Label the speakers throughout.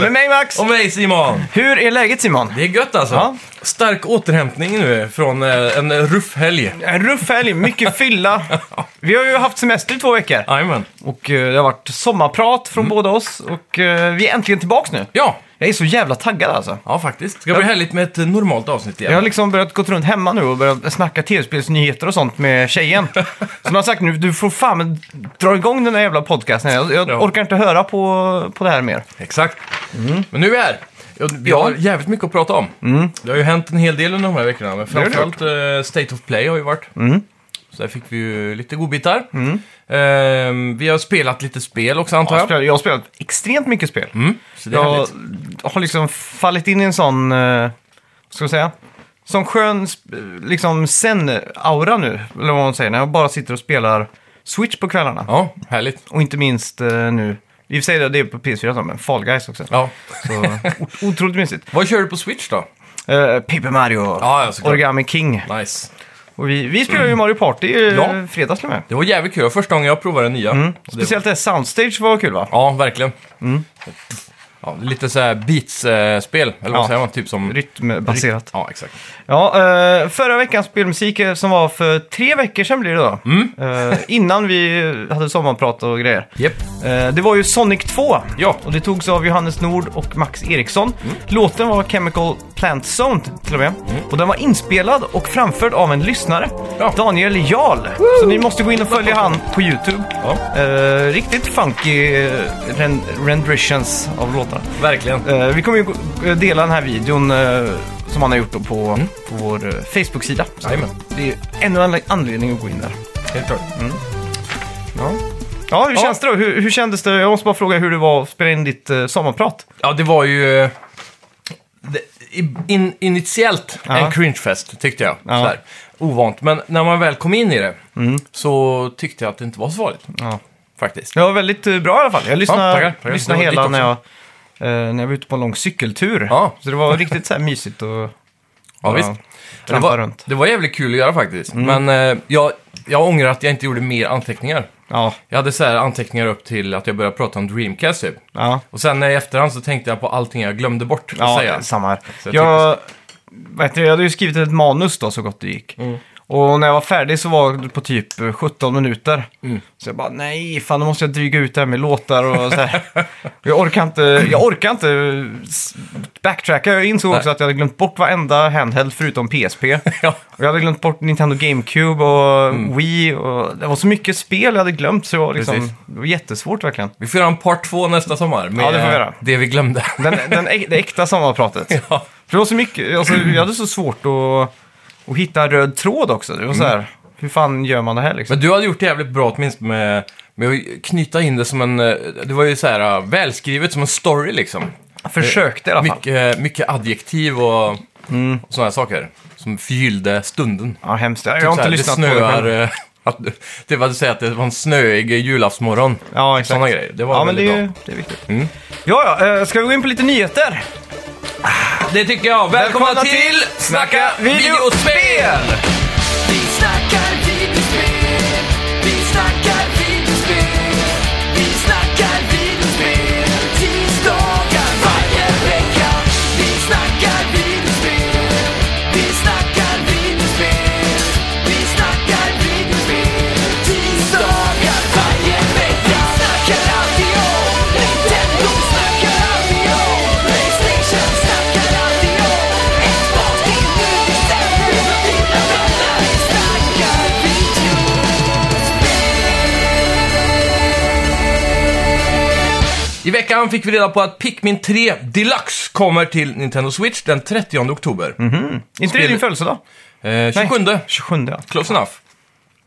Speaker 1: Med mig Max!
Speaker 2: Och mig Simon!
Speaker 1: Hur är läget Simon?
Speaker 2: Det är gött alltså.
Speaker 1: Ja.
Speaker 2: Stark återhämtning nu från eh, en ruff helg.
Speaker 1: En ruff helg, mycket fylla. Vi har ju haft semester i två veckor.
Speaker 2: Jajamän.
Speaker 1: Och eh, det har varit sommarprat från båda oss. Och eh, vi är äntligen tillbaks nu.
Speaker 2: Ja,
Speaker 1: Jag är så jävla taggad alltså.
Speaker 2: ja faktiskt. Ska bli härligt med ett eh, normalt avsnitt igen.
Speaker 1: Jag har liksom börjat gå runt hemma nu och börjat snacka tv-spelsnyheter och sånt med tjejen. Som har sagt nu, du får fan dra igång den här jävla podcasten. Jag, jag
Speaker 2: Ja.
Speaker 1: orkar inte höra på, på det här mer.
Speaker 2: Exakt. Men nu är vi här. Jag- Vi
Speaker 1: Ja.
Speaker 2: har jävligt mycket att prata om. Det har ju hänt en hel del under de här veckorna, men
Speaker 1: har det
Speaker 2: framförallt eh, State of Play har ju varit. Så där fick vi ju lite godbitar. Eh, vi har spelat lite Mm. spel också
Speaker 1: Jag
Speaker 2: antar
Speaker 1: har
Speaker 2: jag.
Speaker 1: spelat, jag har spelat extremt mycket spel.
Speaker 2: Mm, så det är
Speaker 1: Jag
Speaker 2: härligt.
Speaker 1: har liksom fallit in i en sån, eh, vad ska jag säga, som skön sp- liksom zen-aura nu, eller vad man säger, när jag bara sitter och spelar Switch på kvällarna.
Speaker 2: Ja, härligt.
Speaker 1: Och inte minst eh, nu, i och för sig det är på PS4 så, men Fall Guys också.
Speaker 2: Ja.
Speaker 1: Så, o- otroligt mysigt.
Speaker 2: Vad kör du på Switch då?
Speaker 1: Eh, Paper Mario,
Speaker 2: Ja, ja, såklart.
Speaker 1: Origami King.
Speaker 2: Nice.
Speaker 1: Och vi, vi spelar ju Mario Party i eh,
Speaker 2: Ja.
Speaker 1: fredags till och med.
Speaker 2: Det var jävligt kul. Första gången jag provade den nya. Och det var-
Speaker 1: Speciellt det här Soundstage var kul va?
Speaker 2: Ja, verkligen. Ja, lite så här beats-spel, eller vad
Speaker 1: Ja.
Speaker 2: säger man? Typ som...
Speaker 1: Rytmbaserat.
Speaker 2: Ja, exakt.
Speaker 1: Ja, eh, förra veckans spelmusik eh, som var för tre veckor sedan blir det då.
Speaker 2: Mm.
Speaker 1: Eh, innan vi hade sommarprat och grejer.
Speaker 2: Japp.
Speaker 1: Eh, det var ju Sonic 2.
Speaker 2: Ja. Mm.
Speaker 1: Och det togs av Johannes Nord och Max Eriksson. Låten var Chemical Plant Zone till och med. Och den var inspelad och framförd av en lyssnare.
Speaker 2: Ja.
Speaker 1: Daniel Jarl. Så ni måste gå in och följa han på YouTube.
Speaker 2: Ja,
Speaker 1: Eh, riktigt funky eh, rend- renditions av låtarna.
Speaker 2: verkligen.
Speaker 1: Eh, vi kommer ju gå- eh, dela den här videon eh, som han har gjort då på, på vår eh, Facebook-sida. Så
Speaker 2: Jajamän.
Speaker 1: Det är ännu en anledning att gå in där.
Speaker 2: Helt klart.
Speaker 1: Ja, ja hur
Speaker 2: Ja.
Speaker 1: känns det då? Hur, hur kändes det? Jag måste bara fråga hur det var att spela in ditt eh, sommarprat.
Speaker 2: Ja, det var ju... eh, det- i- In, initiellt
Speaker 1: Ja.
Speaker 2: en cringefest, tyckte jag.
Speaker 1: Ja.
Speaker 2: Sådär. Ovant, men när man väl kom in i det så tyckte jag att det inte var så farligt,
Speaker 1: Ja.
Speaker 2: faktiskt.
Speaker 1: Det var väldigt eh, bra i alla fall. Jag lyssnade,
Speaker 2: tackar, tackar.
Speaker 1: lyssnade
Speaker 2: Det var
Speaker 1: hela
Speaker 2: ditt
Speaker 1: när jag, eh, när jag var ute på en lång cykeltur.
Speaker 2: Ja.
Speaker 1: Så det var riktigt så här mysigt och
Speaker 2: Ja, visst. Det
Speaker 1: trampa
Speaker 2: var,
Speaker 1: runt. Mm.
Speaker 2: det var jävligt kul att göra faktiskt, men eh, jag, jag ångrar att jag inte gjorde mer anteckningar.
Speaker 1: Ja,
Speaker 2: Jag hade så här anteckningar upp till att jag började prata om Dreamcast typ.
Speaker 1: ja.
Speaker 2: Och sen eh, i efterhand så tänkte jag på allting jag glömde bort att
Speaker 1: Ja,
Speaker 2: säga.
Speaker 1: samma här.
Speaker 2: Så
Speaker 1: Jag,
Speaker 2: jag
Speaker 1: vet du, jag hade ju skrivit ett manus då så gott det gick. Och när jag var färdig så var det på typ eh, 17 minuter. Så jag bara, nej, fan då måste jag dryga ut det här med låtar och så här. Och jag orkar inte, jag orkar inte s- backtracka. Jag insåg också
Speaker 2: Nej.
Speaker 1: att jag hade glömt bort varenda handheld förutom PSP.
Speaker 2: ja,
Speaker 1: Och jag hade glömt bort Nintendo GameCube och Wii. Och det var så mycket spel jag hade glömt så det var, liksom,
Speaker 2: Precis.
Speaker 1: det var jättesvårt verkligen.
Speaker 2: vi får göra en part två nästa sommar med
Speaker 1: Ja, det får vi göra.
Speaker 2: det vi glömde.
Speaker 1: Den, den, äk- det äkta sommarpratet.
Speaker 2: ja.
Speaker 1: För det var så mycket, alltså, jag hade så svårt att, att hitta en röd tråd också. Det var så
Speaker 2: Mm.
Speaker 1: här, hur fan gör man det här liksom?
Speaker 2: Men du hade gjort det jävligt bra åtminstone med, med att knyta in det som en... eh, Det var ju så här eh, välskrivet som en story liksom.
Speaker 1: Jag försökte i alla fall.
Speaker 2: Mycket, eh, mycket adjektiv och,
Speaker 1: Mm.
Speaker 2: och sådana saker. Som förgyllde stunden.
Speaker 1: Ja, hemskt. Jag har inte
Speaker 2: typ Så här,
Speaker 1: lyssnat
Speaker 2: det
Speaker 1: på det.
Speaker 2: snöar,
Speaker 1: Men...
Speaker 2: eh, Att, du- det var att säga att det var en snöig julaftsmorgon.
Speaker 1: Ja, exakt.
Speaker 2: Sådana grejer. Det var
Speaker 1: Ja, men det
Speaker 2: väldigt
Speaker 1: är, ju-
Speaker 2: bra. Mm.
Speaker 1: det är viktigt. Ja, ja. eh, Ska vi gå in på lite nyheter?
Speaker 2: Det tycker jag. Välkomna,
Speaker 1: Välkomna
Speaker 2: till,
Speaker 1: till
Speaker 2: Snacka
Speaker 1: videospel!
Speaker 2: videospel!
Speaker 3: Vi snackar videospel, vi snackar videospel, vi snackar videospel, tisdagar varje vecka. Vi snackar videospel, vi snackar videospel, vi snackar videospel, tisdagar varje vecka. Snackar alltid om Nintendo, snackar alltid om Playstation, snackar alltid om Xbox, det är nu vi sänder för dina vänner. Vi snackar video.
Speaker 2: I veckan fick vi reda på att Pikmin 3 Deluxe kommer till Nintendo Switch den 30 oktober. Eh,
Speaker 1: Inte det
Speaker 2: Spel-
Speaker 1: din födelsedag?
Speaker 2: Eh, 27.
Speaker 1: 27, ja.
Speaker 2: Close enough.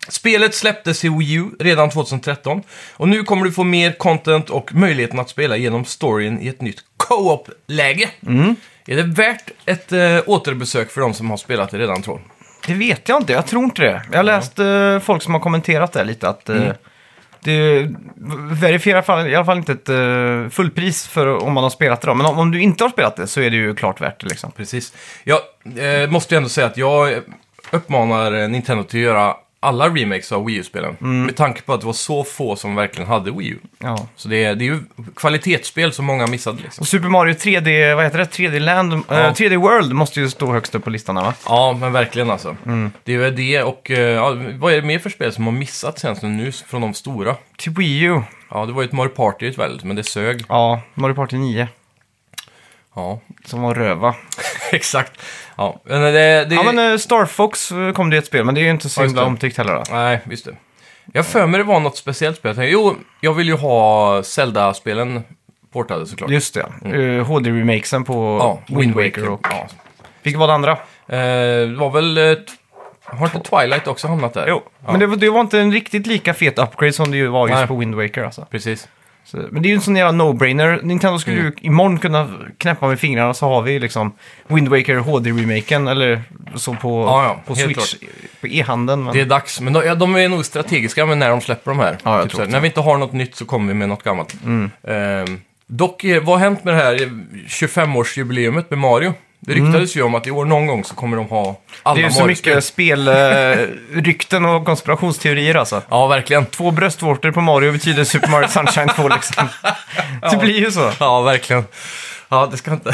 Speaker 2: Spelet släpptes i Wii U redan 2013 och nu kommer du få mer content och möjligheten att spela genom storyn i ett nytt co-op-läge. Är det värt ett eh, återbesök för de som har spelat det redan tror
Speaker 1: Det vet jag inte, jag tror inte det. Jag har läst eh, folk som har kommenterat det lite att eh,
Speaker 2: Mm.
Speaker 1: det v- verifierar fall, i alla fall inte ett eh, fullpris för om man har spelat det. Då. Men om, om du inte har spelat det så är det ju klart värt det liksom.
Speaker 2: Precis. Jag eh, måste ju ändå säga att jag eh, uppmanar eh, Nintendo till att göra alla remakes av Wii U-spelen. Med tanke på att det var så få som verkligen hade Wii U.
Speaker 1: Ja.
Speaker 2: Så det är, det är ju kvalitetsspel som många missade. Liksom.
Speaker 1: Och Super Mario 3D, vad heter det? 3D Land, eh, 3D World måste ju stå högst upp på listan här, va?
Speaker 2: Ja, men verkligen alltså. Det är väl det och eh, ja, vad är det mer för spel som har missat sen som nu från de stora?
Speaker 1: Till Typ Wii U.
Speaker 2: Ja, det var ju ett Mario Party väl, men det sög.
Speaker 1: Ja, Mario Party 9.
Speaker 2: Ja,
Speaker 1: Som var röva.
Speaker 2: exakt. Ja, men det, det...
Speaker 1: Ja men eh, Star Fox eh, kom det i ett spel, men det är ju inte så
Speaker 2: Ja, just
Speaker 1: himla
Speaker 2: det.
Speaker 1: omtyckt heller. Då.
Speaker 2: Nej, just det. Jag för mig det var något speciellt spel. Jag tänkte, jo, jag vill ju ha Zelda-spelen portade såklart.
Speaker 1: Just det, Eh, HD-remakesen på
Speaker 2: Mm. ja,
Speaker 1: Wind Waker. Och,
Speaker 2: Ja.
Speaker 1: vilket var det andra?
Speaker 2: Eh, det var väl... eh, t- Har inte Twilight också hamnat där?
Speaker 1: Jo,
Speaker 2: Ja,
Speaker 1: men det var, det var inte en riktigt lika fet upgrade som det ju var just
Speaker 2: Nej.
Speaker 1: på Wind Waker alltså.
Speaker 2: Precis.
Speaker 1: Så, men det är ju en sån jävla no-brainer. Nintendo skulle
Speaker 2: Mm.
Speaker 1: ju imorgon kunna knäppa med fingrarna så har vi liksom Wind Waker HD-remaken eller så på,
Speaker 2: Ja, ja,
Speaker 1: på
Speaker 2: helt
Speaker 1: Switch, på e-handeln. Men...
Speaker 2: Det är dags. Men de, ja, de är nog strategiska med när de släpper de här. Typ
Speaker 1: jag tror
Speaker 2: så här,
Speaker 1: också.
Speaker 2: när vi inte har något nytt så kommer vi med något gammalt. Eh, dock, eh, vad har hänt med det här eh, 25-årsjubileumet med Mario? Det ryktades ju om att i år någon gång så kommer de ha alla
Speaker 1: Det är ju så
Speaker 2: Mario-spel.
Speaker 1: mycket spelrykten och konspirationsteorier alltså.
Speaker 2: Ja, verkligen.
Speaker 1: Två bröstvårtor på Mario betyder Super Mario Sunshine 2 liksom. Det blir ju så.
Speaker 2: Ja, verkligen. Ja, det ska inte...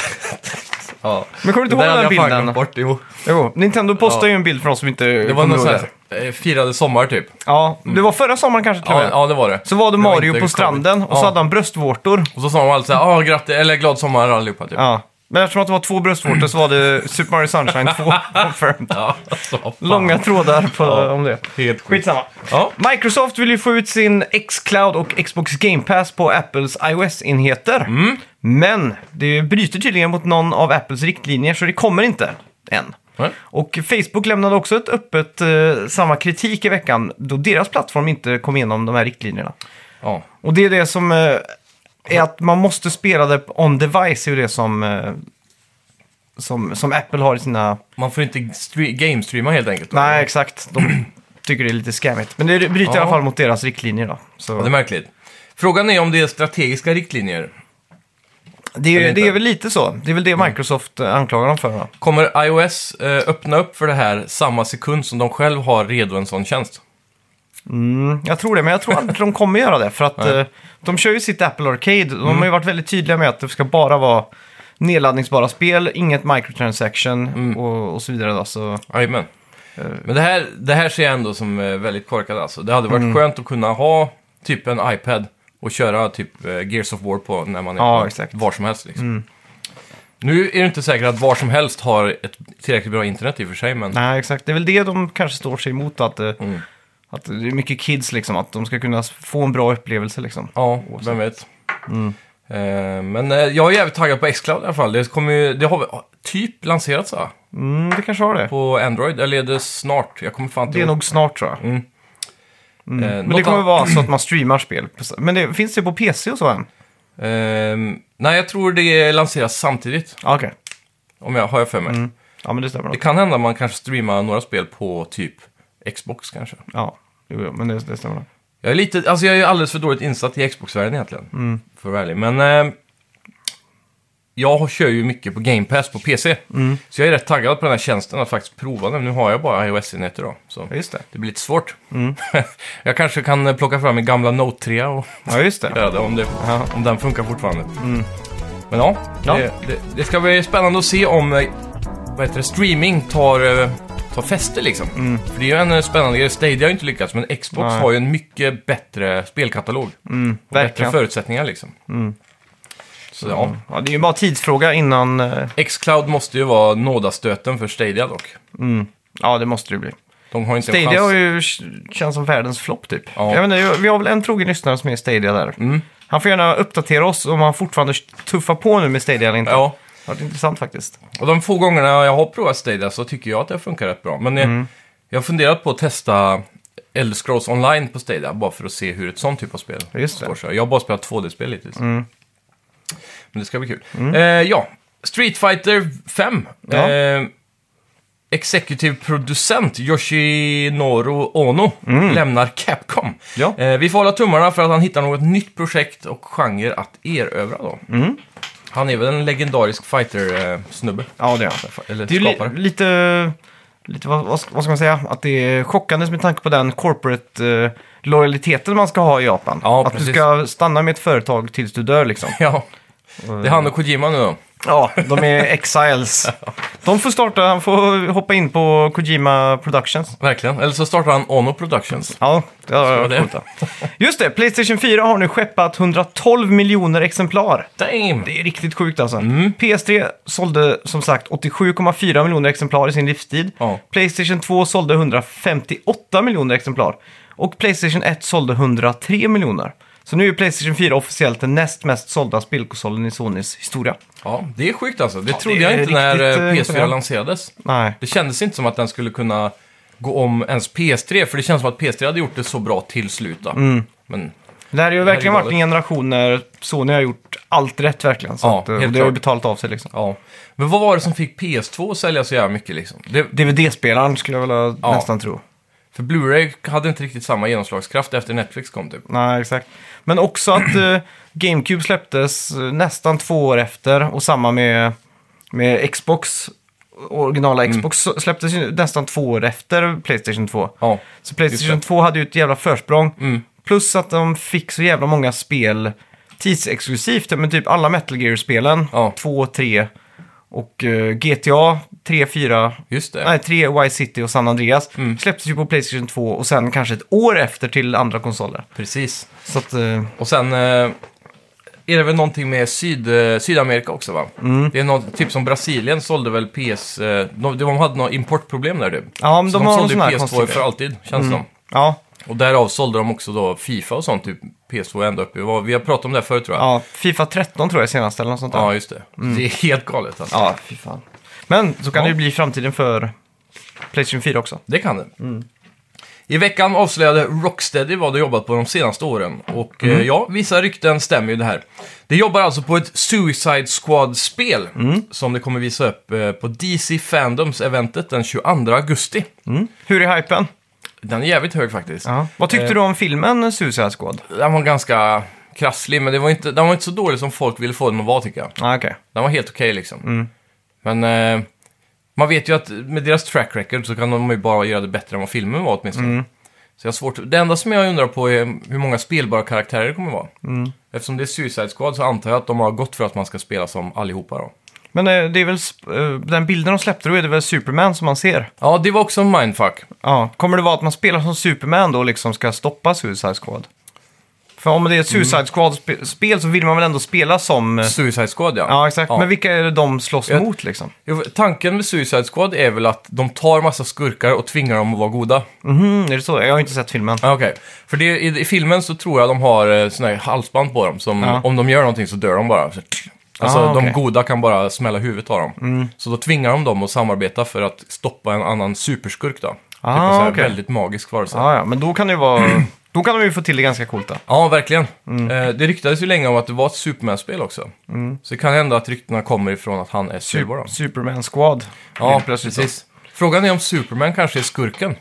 Speaker 2: ja.
Speaker 1: Men kommer du inte
Speaker 2: Det
Speaker 1: ihåg
Speaker 2: där
Speaker 1: den
Speaker 2: hade jag fan glömt
Speaker 1: bilden?
Speaker 2: Bort, jo.
Speaker 1: Jo, Nintendo postade
Speaker 2: Ja.
Speaker 1: ju en bild för oss som inte
Speaker 2: Det var någon sån
Speaker 1: ihåg
Speaker 2: här eh, firade sommar typ.
Speaker 1: Ja, det var förra sommaren kanske till och
Speaker 2: Ja,
Speaker 1: med.
Speaker 2: ja, det var det.
Speaker 1: Så var det
Speaker 2: Det var
Speaker 1: Mario
Speaker 2: inte
Speaker 1: på stranden och så
Speaker 2: Ja.
Speaker 1: hade han bröstvårtor.
Speaker 2: Och så sa de alltid så här, ah, grattis, eller glad sommar allihopa typ.
Speaker 1: Ja. Men eftersom att det var två bröstvårtor så var det Super Mario Sunshine 2 confirmed.
Speaker 2: Ja, alltså, fan.
Speaker 1: Långa trådar på, om det.
Speaker 2: Helt skit.
Speaker 1: Skitsamma.
Speaker 2: Ja.
Speaker 1: Microsoft vill ju få ut sin X-Cloud och Xbox Game Pass på Apples iOS-enheter.
Speaker 2: Mm.
Speaker 1: Men det bryter tydligen mot någon av Apples riktlinjer så det kommer inte än.
Speaker 2: Nej.
Speaker 1: Och Facebook lämnade också ett öppet eh, samma kritik i veckan då deras plattform inte kom igenom de här riktlinjerna.
Speaker 2: Ja.
Speaker 1: Och det är det som eh, är att man måste spela det on device, är ju det som, eh, som, som Apple har i sina...
Speaker 2: Man får inte stre- game-streama helt enkelt.
Speaker 1: Nej, exakt. De tycker det är lite skämmigt. Men det bryter i
Speaker 2: Ja.
Speaker 1: alla fall mot deras riktlinjer då.
Speaker 2: Det är
Speaker 1: Så
Speaker 2: märkligt. Frågan är om det är strategiska riktlinjer.
Speaker 1: det,
Speaker 2: eller
Speaker 1: är, det
Speaker 2: inte. Mm.
Speaker 1: är väl lite så. Det är väl det Microsoft eh, anklagar dem för. Då.
Speaker 2: Kommer iOS eh, öppna upp för det här samma sekund som de själv har redo en sån tjänst?
Speaker 1: Mm, jag tror det, men jag tror aldrig de kommer göra det. För att
Speaker 2: Nej. Mm.
Speaker 1: eh, de kör ju sitt Apple Arcade. De har ju varit väldigt tydliga med att det ska bara vara nedladdningsbara spel, inget microtransaction
Speaker 2: Mm.
Speaker 1: och, och så vidare. Då. Så,
Speaker 2: Jajamän.
Speaker 1: Eh.
Speaker 2: Men det här, det här ser jag ändå som eh, väldigt korkat alltså. Det hade varit
Speaker 1: Mm.
Speaker 2: skönt att kunna ha typ en iPad och köra typ eh, Gears of War på när man är
Speaker 1: Ja,
Speaker 2: på
Speaker 1: exakt. Mm.
Speaker 2: var som helst. Liksom. Nu är det inte säkert att var som helst har ett tillräckligt bra internet i och för sig, men
Speaker 1: nej, exakt. Det är väl det de kanske står sig emot. Att, eh,
Speaker 2: Mm.
Speaker 1: att det är mycket kids, liksom, att de ska kunna få en bra upplevelse. Liksom.
Speaker 2: ja, vem vet. Eh, men eh, jag är jävligt taggad på Xcloud i alla fall. Det, kommer ju, det har väl, ah, typ lanserats va?
Speaker 1: Mm, det kanske har det.
Speaker 2: På Android, eller är det snart? Jag kommer fan inte
Speaker 1: Det är
Speaker 2: ihåg.
Speaker 1: nog snart, tror jag.
Speaker 2: Mm. Eh,
Speaker 1: Men det
Speaker 2: något
Speaker 1: kommer
Speaker 2: an-
Speaker 1: vara så att man streamar spel. Men det, finns det på PC och så än?
Speaker 2: Ehm, nej, jag tror det lanseras samtidigt,
Speaker 1: Ja, okej.
Speaker 2: om jag har jag för mig.
Speaker 1: Ja, men det stämmer
Speaker 2: Det
Speaker 1: nog.
Speaker 2: kan hända man kanske streamar några spel på typ Xbox kanske.
Speaker 1: Ja, jo, jo, men det, det stämmer nog.
Speaker 2: Jag är lite, alltså jag är alldeles för dåligt insatt i Xbox-världen egentligen.
Speaker 1: Mm.
Speaker 2: För att vara ärlig. Men eh, jag kör ju mycket på Game Pass på PC.
Speaker 1: Mm.
Speaker 2: Så jag är rätt taggad på den här tjänsten att faktiskt prova den. Nu har jag bara iOS-enheter då. Så
Speaker 1: Ja, just det. Mm.
Speaker 2: det blir lite svårt. jag kanske kan eh, plocka fram min gamla Note 3 och
Speaker 1: Ja, just det.
Speaker 2: göra det om, det,
Speaker 1: Ja.
Speaker 2: om den funkar fortfarande. Men ja,
Speaker 1: Mm. Ja.
Speaker 2: Det, det, det ska bli spännande att se om eh, vad heter det, streaming tar, eh, tar fäste liksom. För det är ju en eh, spännande grej. Stadia har ju inte lyckats, men Xbox
Speaker 1: Mm. Nej. Mm,
Speaker 2: har ju en mycket bättre spelkatalog. och bättre
Speaker 1: verkligen. Mm.
Speaker 2: förutsättningar liksom. Så ja,
Speaker 1: Ja, det är ju bara tidsfråga innan... eh,
Speaker 2: Xcloud måste ju vara nådastöten för Stadia dock.
Speaker 1: Ja, det måste det bli.
Speaker 2: De har ju inte en
Speaker 1: Stadia
Speaker 2: chans.
Speaker 1: har ju k- känns som världens flopp typ.
Speaker 2: Ja. Mm.
Speaker 1: Jag menar, vi har väl en trogen lyssnare som är i Stadia där. Han får gärna uppdatera oss om han fortfarande tuffar på nu med Stadia eller inte.
Speaker 2: Ja,
Speaker 1: Det har varit intressant faktiskt.
Speaker 2: och de få gångerna jag har provat Stadia så tycker jag att det funkar rätt bra. Men eh,
Speaker 1: Mm.
Speaker 2: jag har funderat på att testa Elder Scrolls Online på Stadia bara för att se hur ett sånt typ av spel
Speaker 1: Just det. Mm.
Speaker 2: står sig. Jag har bara spelat 2D-spel hittills. Men det ska bli kul. Eh, ja, Street Fighter 5.
Speaker 1: Ja.
Speaker 2: Eh, Executive producent Yoshinoro Ono lämnar Capcom.
Speaker 1: Mm. Ja.
Speaker 2: Eh, vi får hålla tummarna för att han hittar något nytt projekt och genre att erövra då.
Speaker 1: Mm.
Speaker 2: Han är väl en legendarisk eh, fighter-snubbe.
Speaker 1: Ja, det är han.
Speaker 2: Eller
Speaker 1: Det är ju li
Speaker 2: skapare.
Speaker 1: lite lite, vad, vad ska vad ska man säga, att det är chockande med tanke på den corporate-lojaliteten man ska ha i Japan.
Speaker 2: Ja,
Speaker 1: att du
Speaker 2: precis.
Speaker 1: ska stanna med ett företag tills du dör liksom.
Speaker 2: Ja, det är han och Kojima nu då.
Speaker 1: Ja, de är exiles. De får starta, han får hoppa in på Kojima Productions.
Speaker 2: Verkligen. Eller så startar han Ono Productions.
Speaker 1: Ja, det har
Speaker 2: vara
Speaker 1: jag
Speaker 2: det.
Speaker 1: coolt. då. Just det, Playstation 4 har nu skeppat 112 miljoner exemplar.
Speaker 2: Damn!
Speaker 1: Det är riktigt sjukt alltså. PS3 sålde som sagt 87,4 miljoner exemplar i sin livstid.
Speaker 2: Ja.
Speaker 1: Playstation 2 sålde 158 miljoner exemplar. Och Playstation 1 sålde 103 miljoner. Så nu är Playstation 4 officiellt den näst mest sålda spelkonsolen i Sonys historia.
Speaker 2: Ja, det är sjukt alltså. Det trodde
Speaker 1: det
Speaker 2: jag
Speaker 1: är
Speaker 2: inte när
Speaker 1: riktigt,
Speaker 2: eh,
Speaker 1: eh,
Speaker 2: PS4
Speaker 1: imponerande.
Speaker 2: lanserades.
Speaker 1: Nej.
Speaker 2: Det kändes inte som att den skulle kunna gå om ens PS3, för det känns som att PS3 hade gjort det så bra till slut. då.
Speaker 1: Mm.
Speaker 2: Men
Speaker 1: Det här har ju
Speaker 2: här är
Speaker 1: verkligen varit
Speaker 2: galet.
Speaker 1: en generation när Sony har gjort allt rätt verkligen. Så
Speaker 2: Ja,
Speaker 1: att, eh,
Speaker 2: helt
Speaker 1: och det har ju
Speaker 2: klart.
Speaker 1: betalat av sig liksom.
Speaker 2: ja. Men vad var det som fick PS2 att sälja så jävla mycket liksom? Det,
Speaker 1: DVD-spelaren skulle jag vilja
Speaker 2: Ja.
Speaker 1: nästan tro.
Speaker 2: för Blu-ray hade inte riktigt samma genomslagskraft efter Netflix kom typ.
Speaker 1: Nej, exakt. Men också att eh, GameCube släpptes eh, nästan två år efter och samma med, med Xbox. Originala
Speaker 2: Mm.
Speaker 1: Xbox så- släpptes ju nästan två år efter Playstation 2.
Speaker 2: Ja, Mm.
Speaker 1: Så Playstation 2 hade ju ett jävla försprång. Plus att de fick så jävla många spel tidsexklusivt. Men typ alla Metal Gear-spelen,
Speaker 2: Ja.
Speaker 1: 2, 3 och eh, GTA 3, 4,
Speaker 2: just det.
Speaker 1: nej 3, Vice City och San Andreas
Speaker 2: Mm.
Speaker 1: släpptes ju på Playstation 2 och sen kanske ett år efter till andra konsoler.
Speaker 2: Precis.
Speaker 1: Så att, eh,
Speaker 2: Och sen eh, är det väl någonting med Syd, eh, Sydamerika också va?
Speaker 1: Mm.
Speaker 2: Det är något, typ som Brasilien sålde väl PS... Eh, de, de hade något importproblem där du.
Speaker 1: Ja, men
Speaker 2: så
Speaker 1: de
Speaker 2: de
Speaker 1: har
Speaker 2: sålde
Speaker 1: någon
Speaker 2: ju
Speaker 1: sån här
Speaker 2: PS2
Speaker 1: konstig
Speaker 2: för
Speaker 1: grej. Mm.
Speaker 2: alltid, känns som.
Speaker 1: ja,
Speaker 2: Och därav sålde de också då Fifa och sånt, typ PS2 ända upp i... vad- Vi har pratat om det här förut tror jag.
Speaker 1: ja, Mm. Fifa 13 tror jag senast eller något sånt där.
Speaker 2: Ja, just det. Det är helt galet alltså.
Speaker 1: ja fy fan. Men så kan
Speaker 2: Ja.
Speaker 1: det ju bli framtiden för Playstation 4 också.
Speaker 2: Det kan det. I veckan avslöjade Rocksteady vad de jobbat på de senaste åren. Och eh, ja, vissa rykten stämmer ju det här. De jobbar alltså på ett Suicide Squad-spel som de kommer visa upp eh, på DC Fandoms-eventet den 22 augusti.
Speaker 1: Hur är hypen?
Speaker 2: Den är jävligt hög faktiskt.
Speaker 1: Ja. Eh. Vad tyckte du om filmen Suicide Squad?
Speaker 2: Den var ganska krasslig, men det var inte, den var inte så dålig som folk ville få den att vara tycker jag.
Speaker 1: Ah, Okej.
Speaker 2: Den var helt okej liksom.
Speaker 1: Mm.
Speaker 2: Men eh, man vet ju att med deras track record så kan de ju bara göra det bättre än vad filmen var åtminstone.
Speaker 1: Mm.
Speaker 2: Så jag har svårt. Det enda som jag undrar på är hur många spelbara karaktärer det kommer vara.
Speaker 1: Mm.
Speaker 2: Eftersom det är Suicide Squad så antar jag att de har gått för att man ska spela som allihopa då.
Speaker 1: Men eh, det är väl, sp- eh, den bilden de släppte då är det väl Superman som man ser?
Speaker 2: Ja, det var också en mindfuck.
Speaker 1: Ja. Kommer det vara att man spelar som Superman då och liksom ska stoppa Suicide Squad? För om det är ett Suicide Squad-spel så vill man väl ändå spela som... eh,
Speaker 2: Suicide Squad ja.
Speaker 1: Ja, exakt. Men vilka är det de slåss
Speaker 2: Jag-
Speaker 1: mot liksom?
Speaker 2: Jo, Tanken med Suicide Squad är väl att de tar massa skurkar och tvingar dem att vara goda.
Speaker 1: Mhm, är det så? Jag har inte sett filmen.
Speaker 2: Ja, Okej, för det, i, i filmen så tror jag de har eh, såna här halsband på dem som
Speaker 1: Ja.
Speaker 2: om de gör någonting så dör de bara. Så, alltså
Speaker 1: Ah,
Speaker 2: de
Speaker 1: okej. Mm.
Speaker 2: goda kan bara smälla huvudet av dem. Så då tvingar de dem att samarbeta för att stoppa en annan superskurk då.
Speaker 1: Ah,
Speaker 2: typ en sån här
Speaker 1: okej. Ah.
Speaker 2: väldigt magisk varelse.
Speaker 1: Ja, ja, men då kan det ju vara... Då kan de ju få till det ganska coolt då.
Speaker 2: Ja, verkligen.
Speaker 1: Mm.
Speaker 2: Eh, det ryktades ju länge om att det var ett Superman-spel också. Så det kan hända att ryktena kommer ifrån att han är Super. då.
Speaker 1: Typ Superman Squad.
Speaker 2: Ja,
Speaker 1: Helt plötsligt då.
Speaker 2: precis. Frågan är om Superman kanske är skurken.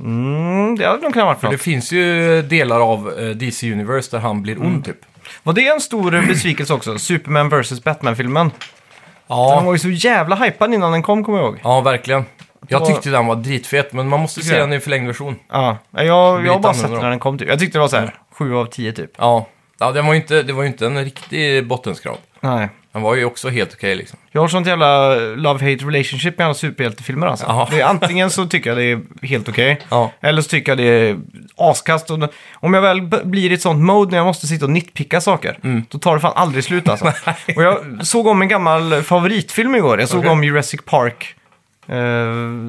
Speaker 1: Mm, det hade nog kunnat varit
Speaker 2: För det
Speaker 1: något.
Speaker 2: finns ju delar av eh, DC Universe där han blir ond
Speaker 1: Mm.
Speaker 2: typ.
Speaker 1: Var det en stor besvikelse också? Superman vs. Batman-filmen. Den
Speaker 2: Ja,
Speaker 1: var ju så jävla hypad innan den kom, kommer jag ihåg.
Speaker 2: Ja, verkligen. Jag
Speaker 1: var-
Speaker 2: tyckte den var ditfet, men man måste se
Speaker 1: Tycker jag.
Speaker 2: den i förlängd version.
Speaker 1: Ja, jag, jag har
Speaker 2: lite
Speaker 1: bara sett
Speaker 2: annorlunda
Speaker 1: när den kom typ. Jag tyckte det var så här 7 av 10 typ.
Speaker 2: Ja, ja den var ju inte, det var ju inte en riktig bottenskrap.
Speaker 1: Nej.
Speaker 2: Den var ju också helt okej liksom.
Speaker 1: Jag har sånt jävla love-hate relationship med alla superhjältefilmer alltså.
Speaker 2: Ja.
Speaker 1: Det är, antingen så tycker jag det är helt okej,
Speaker 2: Ja.
Speaker 1: eller så tycker jag det är askast. Och Om jag väl b- blir i ett sånt mode när jag måste sitta och nitpicka saker,
Speaker 2: Mm.
Speaker 1: då tar det fan aldrig slut alltså. och jag såg om en gammal favoritfilm igår. Jag såg
Speaker 2: Okej.
Speaker 1: om Jurassic Park. eh,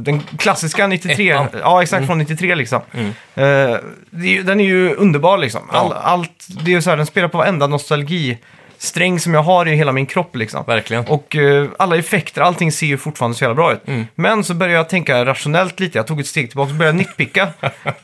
Speaker 1: den klassiska 93.
Speaker 2: Ettan. Mm.
Speaker 1: Ja, exakt. Från 93 liksom. Eh, det, är ju- den är ju underbar liksom. All,
Speaker 2: Ja.
Speaker 1: allt, det är ju så här, den spelar på varenda nostalgisträng som jag har i hela min kropp liksom.
Speaker 2: Verkligen.
Speaker 1: Och eh, alla effekter, allting ser ju fortfarande så jävla bra ut.
Speaker 2: Mm.
Speaker 1: Men så började jag tänka rationellt lite, jag tog ett steg tillbaka och började nitpicka.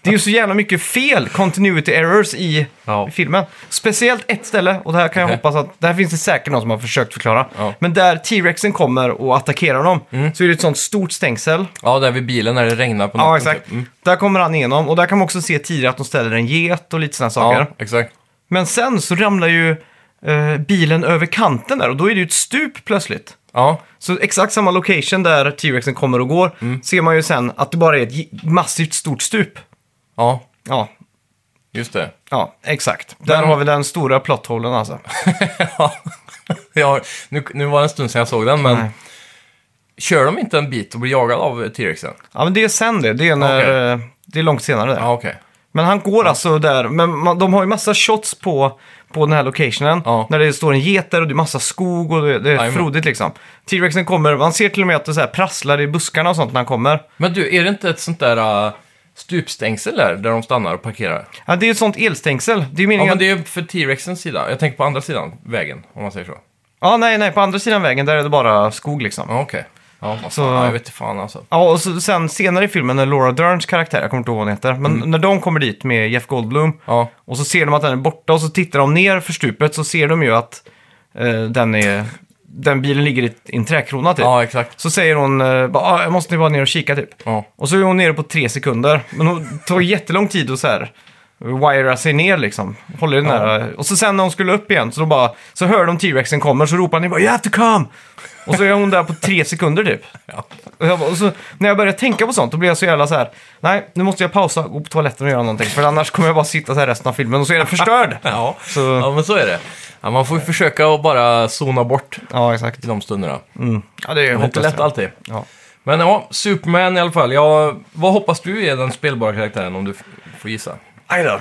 Speaker 1: det är ju så jävla mycket fel, continuity errors i
Speaker 2: Ja.
Speaker 1: filmen. Speciellt ett ställe, och det här kan jag
Speaker 2: Mhm.
Speaker 1: hoppas att, det här finns det säkert någon som har försökt förklara.
Speaker 2: Ja. Mm.
Speaker 1: Men där T-Rexen kommer och attackerar dem, så är det ett sånt stort stängsel.
Speaker 2: Ja, där vid bilen när det regnar på natten.
Speaker 1: Ja, exakt.
Speaker 2: Typ. Mm.
Speaker 1: Där kommer han igenom, och där kan man också se tidigare att de ställer en get och lite sådana saker.
Speaker 2: Ja, exakt.
Speaker 1: Men sen så ramlar ju eh, bilen över kanten där, och då är det ju ett stup plötsligt.
Speaker 2: Ja.
Speaker 1: Så exakt samma location där T-Rexen kommer och går
Speaker 2: Mm.
Speaker 1: ser man ju sen att det bara är ett gi- massivt stort stup.
Speaker 2: Ja,
Speaker 1: Ja,
Speaker 2: just det.
Speaker 1: ja exakt. Där
Speaker 2: Men-
Speaker 1: har vi den stora plotthålen alltså.
Speaker 2: ja, nu, nu var det en stund sedan jag såg den, men
Speaker 1: Nej.
Speaker 2: kör de inte en bit och blir jagade av eh, T-Rexen?
Speaker 1: Ja, men det är sen det. Det är, när,
Speaker 2: Okej.
Speaker 1: eh, det är långt senare där.
Speaker 2: Ja, okej.
Speaker 1: Men han går alltså där, men man, de har ju massa shots på, på den här locationen.
Speaker 2: Ja.
Speaker 1: När det står en get där och det är massa skog och det, det är
Speaker 2: Jajamän.
Speaker 1: frodigt liksom. T-Rexen kommer, man ser till och med att det så här prasslar i buskarna och sånt när han kommer.
Speaker 2: Men du, är det inte ett sånt där eh, stupstängsel där, där de stannar och parkerar?
Speaker 1: Ja, det är ju ett sånt elstängsel. Det är ju
Speaker 2: Ja,
Speaker 1: meningen...
Speaker 2: men det är för T-Rexens sida. Jag tänker på andra sidan vägen, om man säger så.
Speaker 1: ja, nej, nej, på andra sidan vägen där är det bara skog liksom.
Speaker 2: Ja, okej. Ja, vad
Speaker 1: Så-
Speaker 2: fan, ja, jag vet inte fan alltså.
Speaker 1: Ja, och så, sen senare i filmen när Laura Derns karaktär, jag kommer inte ihåg vad hon heter, men när de kommer dit med Jeff Goldblum
Speaker 2: Mm. Ja,
Speaker 1: och så ser de att den är borta och så tittar de ner för stupet så ser de ju att eh, den, är, den bilen ligger i i en träkrona typ.
Speaker 2: ja exakt.
Speaker 1: Så säger hon eh, bara, ah, jag måste bara ner och kika typ.
Speaker 2: Ja.
Speaker 1: Och så är hon nere på tre sekunder. Men hon tar jättelång tid och så här wira sig ner liksom. Håller den där. Och så sen när hon skulle upp igen så, då bara, så hör de T-Rexen kommer så ropar ni bara “You have to come!” Och så är hon där på tre sekunder typ.
Speaker 2: Ja.
Speaker 1: Och, jag bara, och så, när jag började tänka på sånt då blev jag så jävla så här “Nej, nu måste jag pausa, gå på toaletten och göra någonting för annars kommer jag bara sitta så här resten av filmen och så är den förstörd!”
Speaker 2: Ja.
Speaker 1: Så-
Speaker 2: ja, men så är det. Ja, man får ju försöka att bara zona bort
Speaker 1: Ja, exakt.
Speaker 2: i de
Speaker 1: Mm,
Speaker 2: stunderna.
Speaker 1: Ja, det är
Speaker 2: Det är inte
Speaker 1: hopplöst.
Speaker 2: lätt alltid.
Speaker 1: Ja.
Speaker 2: Men ja, Superman i alla fall. Ja, vad hoppas du är den spelbara karaktären om du f- får gissa?
Speaker 1: Aj då.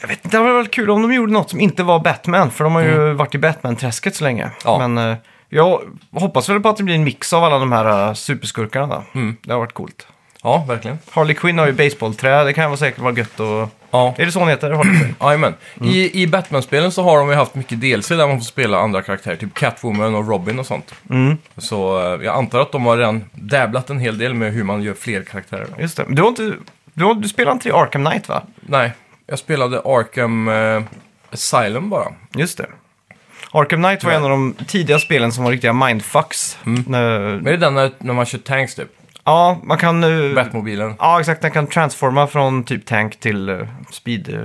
Speaker 1: Jag vet inte, det hade varit kul om de gjorde något som inte var Batman, för de har ju varit i Batman-träsket så länge.
Speaker 2: Mm. Ja.
Speaker 1: Men eh, jag hoppas väl på att det blir en mix av alla de här eh, superskurkarna. Där.
Speaker 2: Mm.
Speaker 1: Det har varit coolt.
Speaker 2: Ja, verkligen.
Speaker 1: Harley Quinn har ju baseballträ, det kan vara säkert vara gött och...
Speaker 2: Ja,
Speaker 1: Är det så hon heter? Harley Quinn?
Speaker 2: Jajamän. I, I Batman-spelen så har de ju haft mycket DLC där man får spela andra karaktärer, typ Catwoman och Robin och sånt.
Speaker 1: Mm.
Speaker 2: Så eh, jag antar att de har redan dabblat en hel del med hur man gör fler karaktärer.
Speaker 1: Just det. Men Du har inte... Du, har, du spelar inte i Arkham Knight va?
Speaker 2: Nej, jag spelade Arkham eh, Asylum bara.
Speaker 1: Just det. Arkham Knight var en av de tidiga spelen som var riktiga mindfucks. När-
Speaker 2: Men det är den när, när man kör tanks typ,
Speaker 1: Ja, man kan... eh,
Speaker 2: Batmobilen.
Speaker 1: Ja, exakt. Den kan transforma från typ tank till eh, speed eh,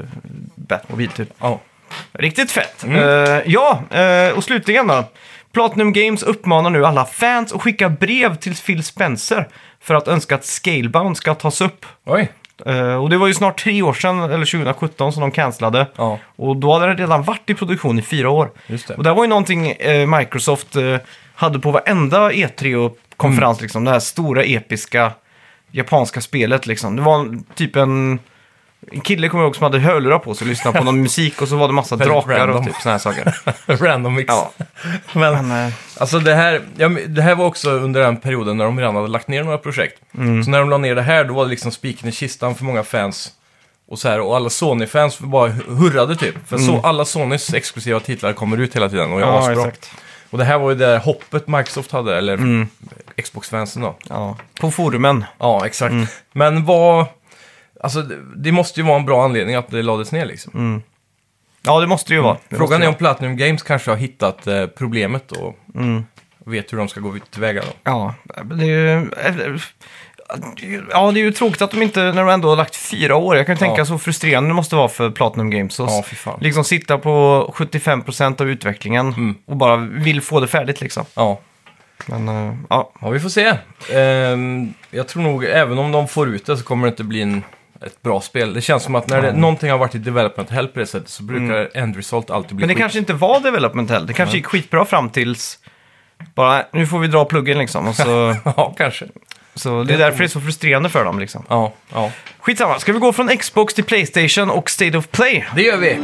Speaker 1: Batmobil typ.
Speaker 2: Ja.
Speaker 1: Riktigt fett. Eh, ja, eh, och slutligen då. Platinum Games uppmanar nu alla fans att skicka brev till Phil Spencer för att önska att Scalebound ska tas upp.
Speaker 2: Oj,
Speaker 1: Eh, och det var ju snart tre år sedan, eller 2017, som de cancellade.
Speaker 2: Ja.
Speaker 1: Och då hade det redan varit i produktion i fyra år.
Speaker 2: Just det.
Speaker 1: Och det här var ju någonting eh, Microsoft eh, hade på varenda E3 och konferens,
Speaker 2: Mm.
Speaker 1: liksom. Det här stora, episka, japanska spelet, liksom. Det var en- typ en... En kille kommer jag ihåg som hade hörlurar på sig och lyssnade på någon musik och så var det massa
Speaker 2: Väldigt
Speaker 1: drakar
Speaker 2: random.
Speaker 1: och typ såna här saker.
Speaker 2: random mix.
Speaker 1: Ja.
Speaker 2: Men,
Speaker 1: Men, eh,
Speaker 2: Alltså det här, ja, men det här var också under den perioden när de redan hade lagt ner några projekt.
Speaker 1: Mm.
Speaker 2: Så när de la ner det här, då var det liksom spiken i kistan för många fans. Och, så här, och alla Sony-fans bara hurrade typ. För så, alla Sonys exklusiva titlar kommer ut hela tiden och jag var
Speaker 1: Mm. ja,
Speaker 2: så bra.
Speaker 1: exakt. Mm.
Speaker 2: Och det här var ju det där hoppet Microsoft hade, eller Xbox-fansen då.
Speaker 1: Ja. På forumen.
Speaker 2: Ja, exakt.
Speaker 1: Mm.
Speaker 2: Men vad... Alltså, det- det måste ju vara en bra anledning att det lades ner liksom.
Speaker 1: Ja, det måste det ju vara. Mm. Det måste
Speaker 2: Frågan
Speaker 1: det
Speaker 2: är om Platinum Games kanske har hittat eh, problemet och
Speaker 1: Mm.
Speaker 2: vet hur de ska gå tillväga då.
Speaker 1: Ja, men det är ju... eh, Ja, det är ju tråkigt att de inte, när de ändå har lagt fyra år, jag kan ju tänka
Speaker 2: Ja.
Speaker 1: så frustrerande det måste vara för Platinum Games. att
Speaker 2: Ja, fy fan. Mm.
Speaker 1: Liksom sitta på 75% av utvecklingen och bara vill få det färdigt liksom.
Speaker 2: Ja.
Speaker 1: Men eh, ja,
Speaker 2: Ja, vi får se. Ehm, jag tror nog, även om de får ut det så kommer det inte bli en, ett bra spel. Det känns som att när det, någonting har varit i development hell på det sättet så brukar end result alltid bli
Speaker 1: Mm. men det
Speaker 2: skit.
Speaker 1: kanske inte var development heller. Det kanske gick skitbra fram tills bara, nu får vi dra pluggen liksom. Och så,
Speaker 2: Ja, kanske.
Speaker 1: så det är därför det är så frustrerande för dem liksom.
Speaker 2: Ja, ja.
Speaker 1: Skitsamma, ska vi gå från Xbox till Playstation och State of Play?
Speaker 2: Det gör vi!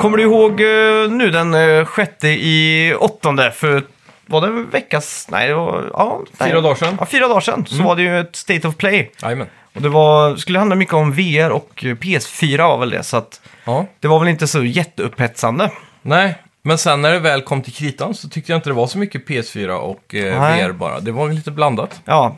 Speaker 1: Kommer du ihåg eh, nu den eh, sjätte i åttonde för var det en veckas... Nej, det var... Ja, nej.
Speaker 2: Fyra dagar sedan. Mm.
Speaker 1: Ja, fyra dagar sedan så var det ju ett State of Play.
Speaker 2: Jajamän.
Speaker 1: Och det var, skulle handla mycket om VR och eh, PS4 var väl det, så att
Speaker 2: Ja.
Speaker 1: det var väl inte så jätteupphetsande.
Speaker 2: Nej, men sen när det väl kom till kritan så tyckte jag inte det var så mycket PS4 och eh,
Speaker 1: Nej.
Speaker 2: VR bara. Det var lite blandat.
Speaker 1: Ja,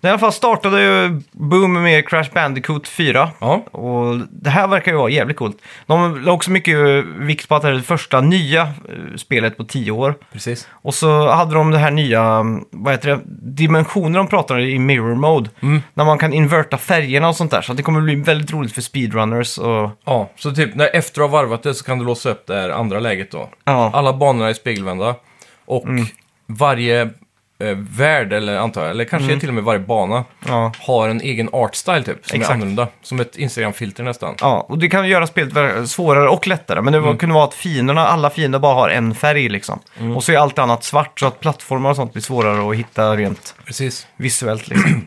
Speaker 1: I alla fall startade ju Boom med Crash Bandicoot 4.
Speaker 2: Ja.
Speaker 1: Och det här verkar ju vara jävligt coolt. De la också mycket eh, vikt på att det här är det första nya eh, spelet på tio år.
Speaker 2: Precis.
Speaker 1: Och så hade de det här nya, mm, vad heter det, dimensioner de pratar om i Mirror Mode. När man kan inverta färgerna och sånt där. Så att det kommer bli väldigt roligt för speedrunners och...
Speaker 2: Ja, så typ när efter du har varvat det så kan du låsa upp det här andra läget då.
Speaker 1: Ja. Mm.
Speaker 2: Alla banorna är spegelvända och varje eh, värld, eller antar jag, eller kanske
Speaker 1: Mm.
Speaker 2: till och med varje bana,
Speaker 1: Ja.
Speaker 2: har en egen artstyle typ, som är
Speaker 1: Exakt.
Speaker 2: annorlunda. Som ett Instagram-filter nästan.
Speaker 1: Ja, och det kan göra spelet vä- svårare och lättare. Men det var, kunde vara att finerna, alla fiender bara har en färg liksom. Och så är allt annat svart så att plattformar och sånt blir svårare att hitta rent
Speaker 2: Precis.
Speaker 1: visuellt liksom.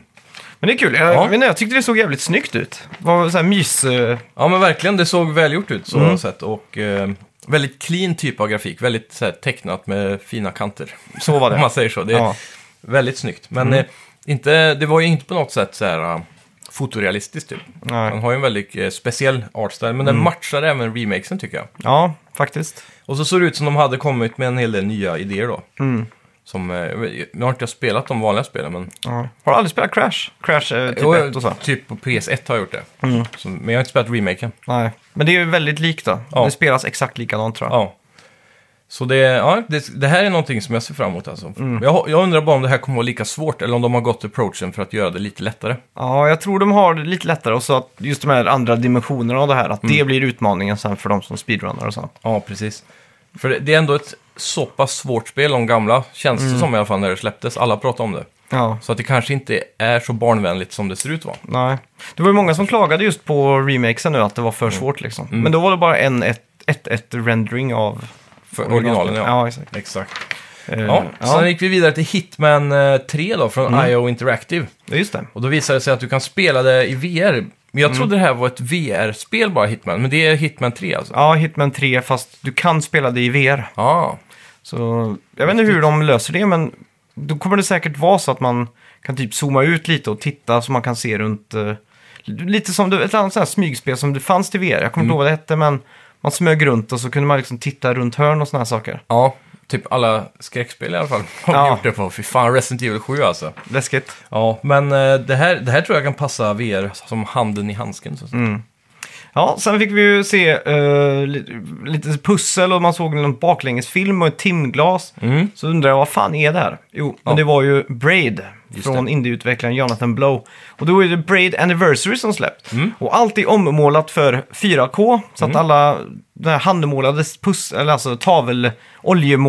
Speaker 1: Men det är kul. Jag,
Speaker 2: Ja.
Speaker 1: jag, vet inte, jag tyckte det såg jävligt snyggt ut. Det var så här mys... eh,
Speaker 2: Ja, men verkligen. Det såg välgjort ut så
Speaker 1: Mm.
Speaker 2: sett. Och eh, väldigt clean typ av grafik. Väldigt så här, tecknat med fina kanter.
Speaker 1: Så var det.
Speaker 2: Om man säger så. Det är
Speaker 1: Ja. Mm.
Speaker 2: väldigt snyggt. Men eh, inte, det var ju inte på något sätt så här eh, fotorealistiskt typ.
Speaker 1: Nej. Mm.
Speaker 2: Han har ju en väldigt eh, speciell artstyle, men den matchar även remakesen tycker jag.
Speaker 1: Ja, faktiskt.
Speaker 2: Och så såg det ut som de hade kommit med en hel del nya idéer då.
Speaker 1: Mm.
Speaker 2: Som, eh, nu har inte jag spelat de vanliga spelen, men
Speaker 1: Ja. Har du aldrig spelat Crash? Crash eh, typ
Speaker 2: Jo,
Speaker 1: 1 och så? Mm.
Speaker 2: typ på PS1 har jag gjort det. Så, men jag har inte spelat remaken.
Speaker 1: Nej. Men det är ju väldigt likt då.
Speaker 2: Ja.
Speaker 1: Det spelas exakt likadant tror jag.
Speaker 2: Ja. Så det, ja, det, det här är någonting som jag ser fram emot alltså.
Speaker 1: Mm.
Speaker 2: Jag, jag undrar bara om det här kommer vara lika svårt eller om de har gått approachen för att göra det lite lättare.
Speaker 1: Ja, jag tror de har det lite lättare. Och så att just de här andra dimensionerna av det här, att det
Speaker 2: Mm.
Speaker 1: blir utmaningen sen för de som speedrunnar och så.
Speaker 2: Ja, precis. För det, det är ändå ett så pass svårt spel, de gamla, känns
Speaker 1: Mm.
Speaker 2: det som i alla fall när det släpptes. Alla pratade om det.
Speaker 1: Ja.
Speaker 2: Så att det kanske inte är så barnvänligt som det ser ut vara.
Speaker 1: Nej. Det var ju många som klagade just på remakesen nu att det var för
Speaker 2: Mm.
Speaker 1: svårt liksom. Men då var det bara en 1-1 rendering av
Speaker 2: För originalen, ja.
Speaker 1: Ja, exakt.
Speaker 2: Exakt.
Speaker 1: Eh,
Speaker 2: Ja.
Speaker 1: ja.
Speaker 2: Sen gick vi vidare till Hitman eh, 3 då, från IO Interactive.
Speaker 1: ja, just det.
Speaker 2: Och då visade det sig att du kan spela det i VR. Men jag trodde det här var ett VR-spel bara, Hitman. Men det är Hitman 3 alltså.
Speaker 1: Ja, Hitman 3, fast du kan spela det i VR.
Speaker 2: Ja,
Speaker 1: Så jag vet inte hur de löser det, men då kommer det säkert vara så att man kan typ zooma ut lite och titta så man kan se runt. eh, lite som det- ett annat sånt här smygspel som det fanns till VR. Jag kommer inte ihåg vad det hette, men man smög runt och så kunde man liksom titta runt hörn och såna här saker.
Speaker 2: ja. Typ alla skräckspel i alla fall har
Speaker 1: Ja.
Speaker 2: gjort det på. Fy fan, Resident Evil 7 alltså.
Speaker 1: Läskigt.
Speaker 2: Ja, men eh, det här, det här tror jag kan passa VR som handen i handsken. Så att säga.
Speaker 1: Ja, sen fick vi ju se eh, li- lite pussel och man såg en baklängesfilm och ett timglas.
Speaker 2: Mm.
Speaker 1: Så undrar jag, vad fan är det här? Jo, men det var ju Braid från
Speaker 2: det.
Speaker 1: indieutvecklaren Jonathan Blow. Och då är det Braid Anniversary som släppt.
Speaker 2: Mm.
Speaker 1: Och allt är ommålat för 4K, så att alla den här handmålade puss, eller alltså tavel,